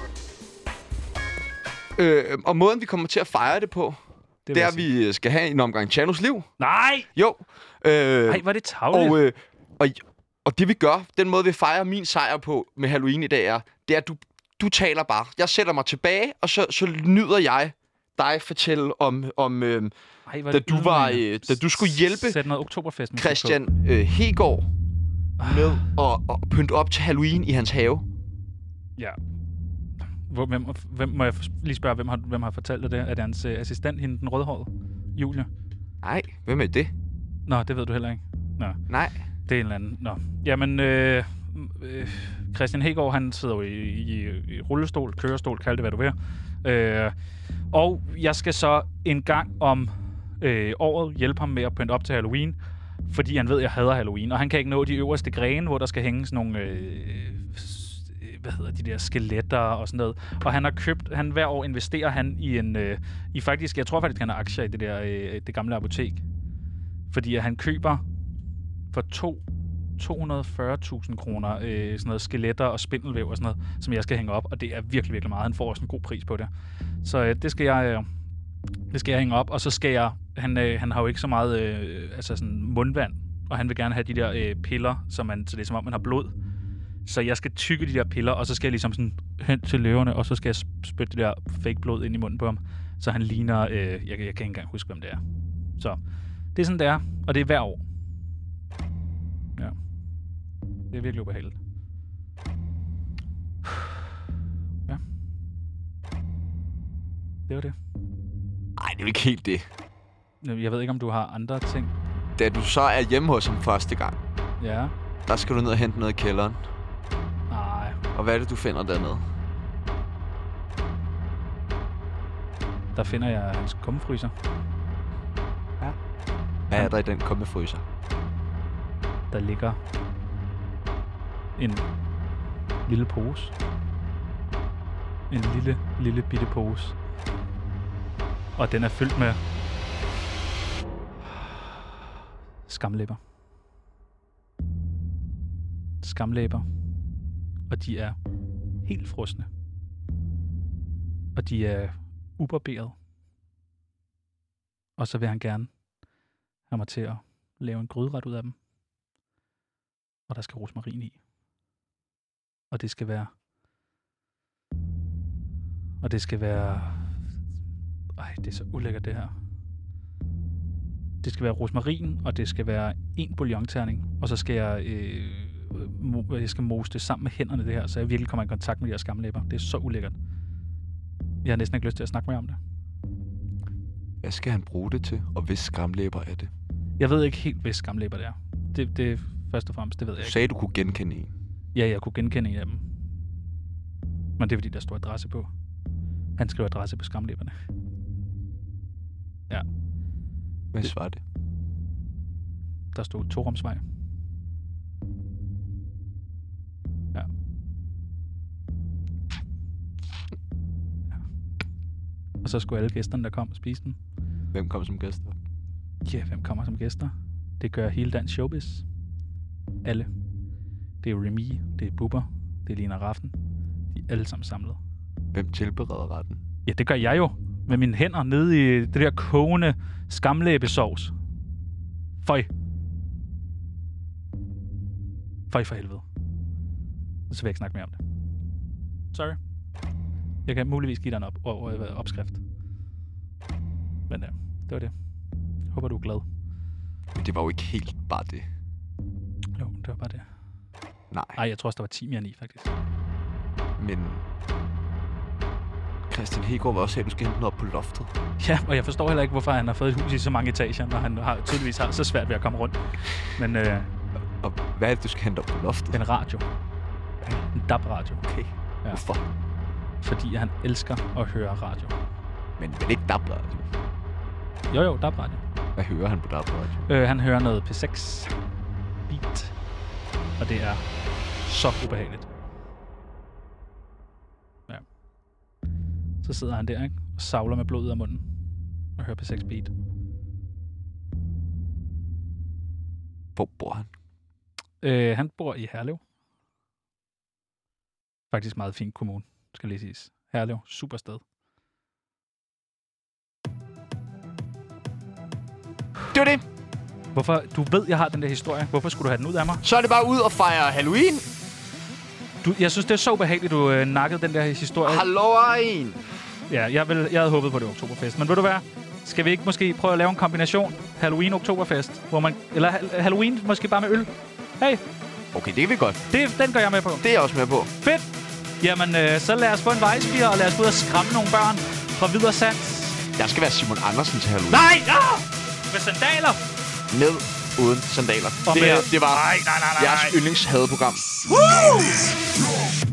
Speaker 2: Øh, og måden, vi kommer til at fejre det på, det, det er, at vi øh, skal have en omgang Chanos liv.
Speaker 1: Nej!
Speaker 2: Jo. Øh,
Speaker 1: Ej, hvor er det tarveligt.
Speaker 2: Og, øh, og, og det vi gør, den måde, vi fejrer min sejr på med Halloween i dag, er, det er, at du, du taler bare. Jeg sætter mig tilbage, og så, så nyder jeg dig fortælle om, om øh,
Speaker 1: Ej, hvor er
Speaker 2: da,
Speaker 1: det
Speaker 2: du var,
Speaker 1: ydmygende.
Speaker 2: øh, da du skulle hjælpe
Speaker 1: Sæt noget oktoberfest
Speaker 2: Christian øh, Hegård med at, at pynte op til Halloween i hans have.
Speaker 1: Ja. Hvor, hvem, hvem, må jeg f- lige spørge, hvem har, hvem har fortalt dig det? Er det hans øh, assistent, hende den rødhårede? Julia?
Speaker 2: Nej, hvem er det?
Speaker 1: Nå, det ved du heller ikke. Nå.
Speaker 2: Nej.
Speaker 1: Det er en eller anden. Nå. Jamen, øh, øh, Christian Hegård, han sidder jo i, i, i rullestol, kørestol, kald det hvad du vil. Øh, og jeg skal så en gang om øh, året hjælpe ham med at pynte op til Halloween, fordi han ved, at jeg hader Halloween. Og han kan ikke nå de øverste grene, hvor der skal hænge sådan nogle... Øh, s- øh, hvad hedder de der skeletter og sådan noget. Og han har købt, han hver år investerer han i en, øh, i faktisk, jeg tror faktisk, han har aktier i det der, øh, det gamle apotek. Fordi at han køber for to 240.000 kroner, øh, sådan noget skeletter og spindelvæv og sådan noget, som jeg skal hænge op, og det er virkelig, virkelig meget. Han får også en god pris på det. Så øh, det skal jeg... Øh, det skal jeg hænge op, og så skal jeg... Han, øh, han har jo ikke så meget øh, altså sådan mundvand, og han vil gerne have de der øh, piller, så, man, så det er som om, man har blod. Så jeg skal tykke de der piller, og så skal jeg ligesom sådan hen til løverne, og så skal jeg sp- spytte det der fake blod ind i munden på ham. Så han ligner... Øh, jeg, jeg kan ikke engang huske, hvem det er. Så det er sådan, det er. Og det er hver år. Ja. Det er virkelig ubehageligt. Ja. Det var det.
Speaker 2: Nej, det er jo ikke helt det.
Speaker 1: Jeg ved ikke, om du har andre ting.
Speaker 2: Da du så er hjemme hos ham første gang,
Speaker 1: Ja.
Speaker 2: der skal du ned og hente noget i kælderen.
Speaker 1: Nej.
Speaker 2: Og hvad er det, du finder dernede?
Speaker 1: Der finder jeg hans kummefryser.
Speaker 2: Hvad er der i den komme fryser?
Speaker 1: Der ligger en lille pose. En lille, lille bitte pose. Og den er fyldt med skamlæber. Skamlæber. Og de er helt frosne. Og de er ubarberet. Og så vil han gerne have mig til at lave en gryderet ud af dem. Og der skal rosmarin i. Og det skal være... Og det skal være... Ej, det er så ulækkert det her. Det skal være rosmarin, og det skal være en bouillonterning. Og så skal jeg, øh, mo- jeg skal mose det sammen med hænderne, det her, så jeg virkelig kommer i kontakt med de her skamlæber. Det er så ulækkert. Jeg har næsten ikke lyst til at snakke mere om det.
Speaker 2: Hvad skal han bruge det til, og hvis skramlæber er det?
Speaker 1: Jeg ved ikke helt, hvis skamlæber det er. Det, det er først og fremmest, det ved jeg
Speaker 2: Du
Speaker 1: ikke.
Speaker 2: sagde, du kunne genkende en.
Speaker 1: Ja, jeg kunne genkende en af dem. Men det er, fordi der står adresse på. Han skrev adresse på skamlæberne. Ja,
Speaker 2: Hvad svarer det?
Speaker 1: der stod Torumsvej. Ja. Ja. Og så skulle alle gæsterne, der kom, spise den.
Speaker 2: Hvem kom som gæster?
Speaker 1: Ja, hvem kommer som gæster? Det gør hele Dansk Showbiz. Alle. Det er Remy, det er Bubber, det er Lina Raffen. De er alle sammen samlet.
Speaker 2: Hvem tilbereder retten?
Speaker 1: Ja, det gør jeg jo. Med mine hænder nede i det der kogende skamlæbesovs. Føj. Føj for helvede. Så vil jeg ikke snakke mere om det. Sorry. Jeg kan muligvis give dig en op- op- op- opskrift. Men ja, det var det. Håber, du er glad.
Speaker 2: Men det var jo ikke helt bare det.
Speaker 1: Jo, det var bare det.
Speaker 2: Nej.
Speaker 1: Ej, jeg tror også, der var 10 mere end i, faktisk.
Speaker 2: Men Christian Hegård var også sagde, at du skal hente den op på loftet.
Speaker 1: Ja, og jeg forstår heller ikke, hvorfor han har fået et hus i så mange etager, når han har, tydeligvis har så svært ved at komme rundt. Men øh,
Speaker 2: Og hvad er det, du skal hente op på loftet?
Speaker 1: en radio. En DAB-radio.
Speaker 2: Okay.
Speaker 1: Ja.
Speaker 2: Hvorfor?
Speaker 1: Fordi han elsker at høre radio.
Speaker 2: Men, men ikke dabler. altså.
Speaker 1: Jo, jo, DAB-radio.
Speaker 2: Hvad hører han på dabler? altså?
Speaker 1: Øh, han hører noget P6 beat, og det er så ubehageligt. Ja. Så sidder han der, ikke? Og savler med blod ud af munden og hører P6 beat.
Speaker 2: Hvor bor han?
Speaker 1: Øh, han bor i Herlev. Faktisk meget fin kommune, skal lige siges. Herlev, super sted.
Speaker 2: Det var det.
Speaker 1: Hvorfor, du ved, jeg har den der historie. Hvorfor skulle du have den ud af mig?
Speaker 2: Så er det bare ud og fejre Halloween.
Speaker 1: Du, jeg synes, det er så ubehageligt, du øh, nakkede den der historie.
Speaker 2: Halloween.
Speaker 1: Ja, jeg, vil, jeg havde håbet på det oktoberfest. Men ved du hvad? Skal vi ikke måske prøve at lave en kombination? Halloween-oktoberfest, hvor man... Eller hal- Halloween måske bare med øl. Hey,
Speaker 2: Okay, det kan vi godt.
Speaker 1: det, den gør jeg med på.
Speaker 2: Det er jeg også med på.
Speaker 1: Fedt! Jamen, øh, så lad os få en vejspiger, og lad os gå ud og skræmme nogle børn fra videre sands.
Speaker 2: Der skal være Simon Andersen til Halloween.
Speaker 1: Nej! Ah! Med sandaler!
Speaker 2: Ned uden sandaler.
Speaker 1: Og
Speaker 2: det,
Speaker 1: med-
Speaker 2: her, det var
Speaker 1: Nej, nej, nej, nej,
Speaker 2: jeres
Speaker 1: nej.
Speaker 2: yndlingshadeprogram.
Speaker 1: Woo!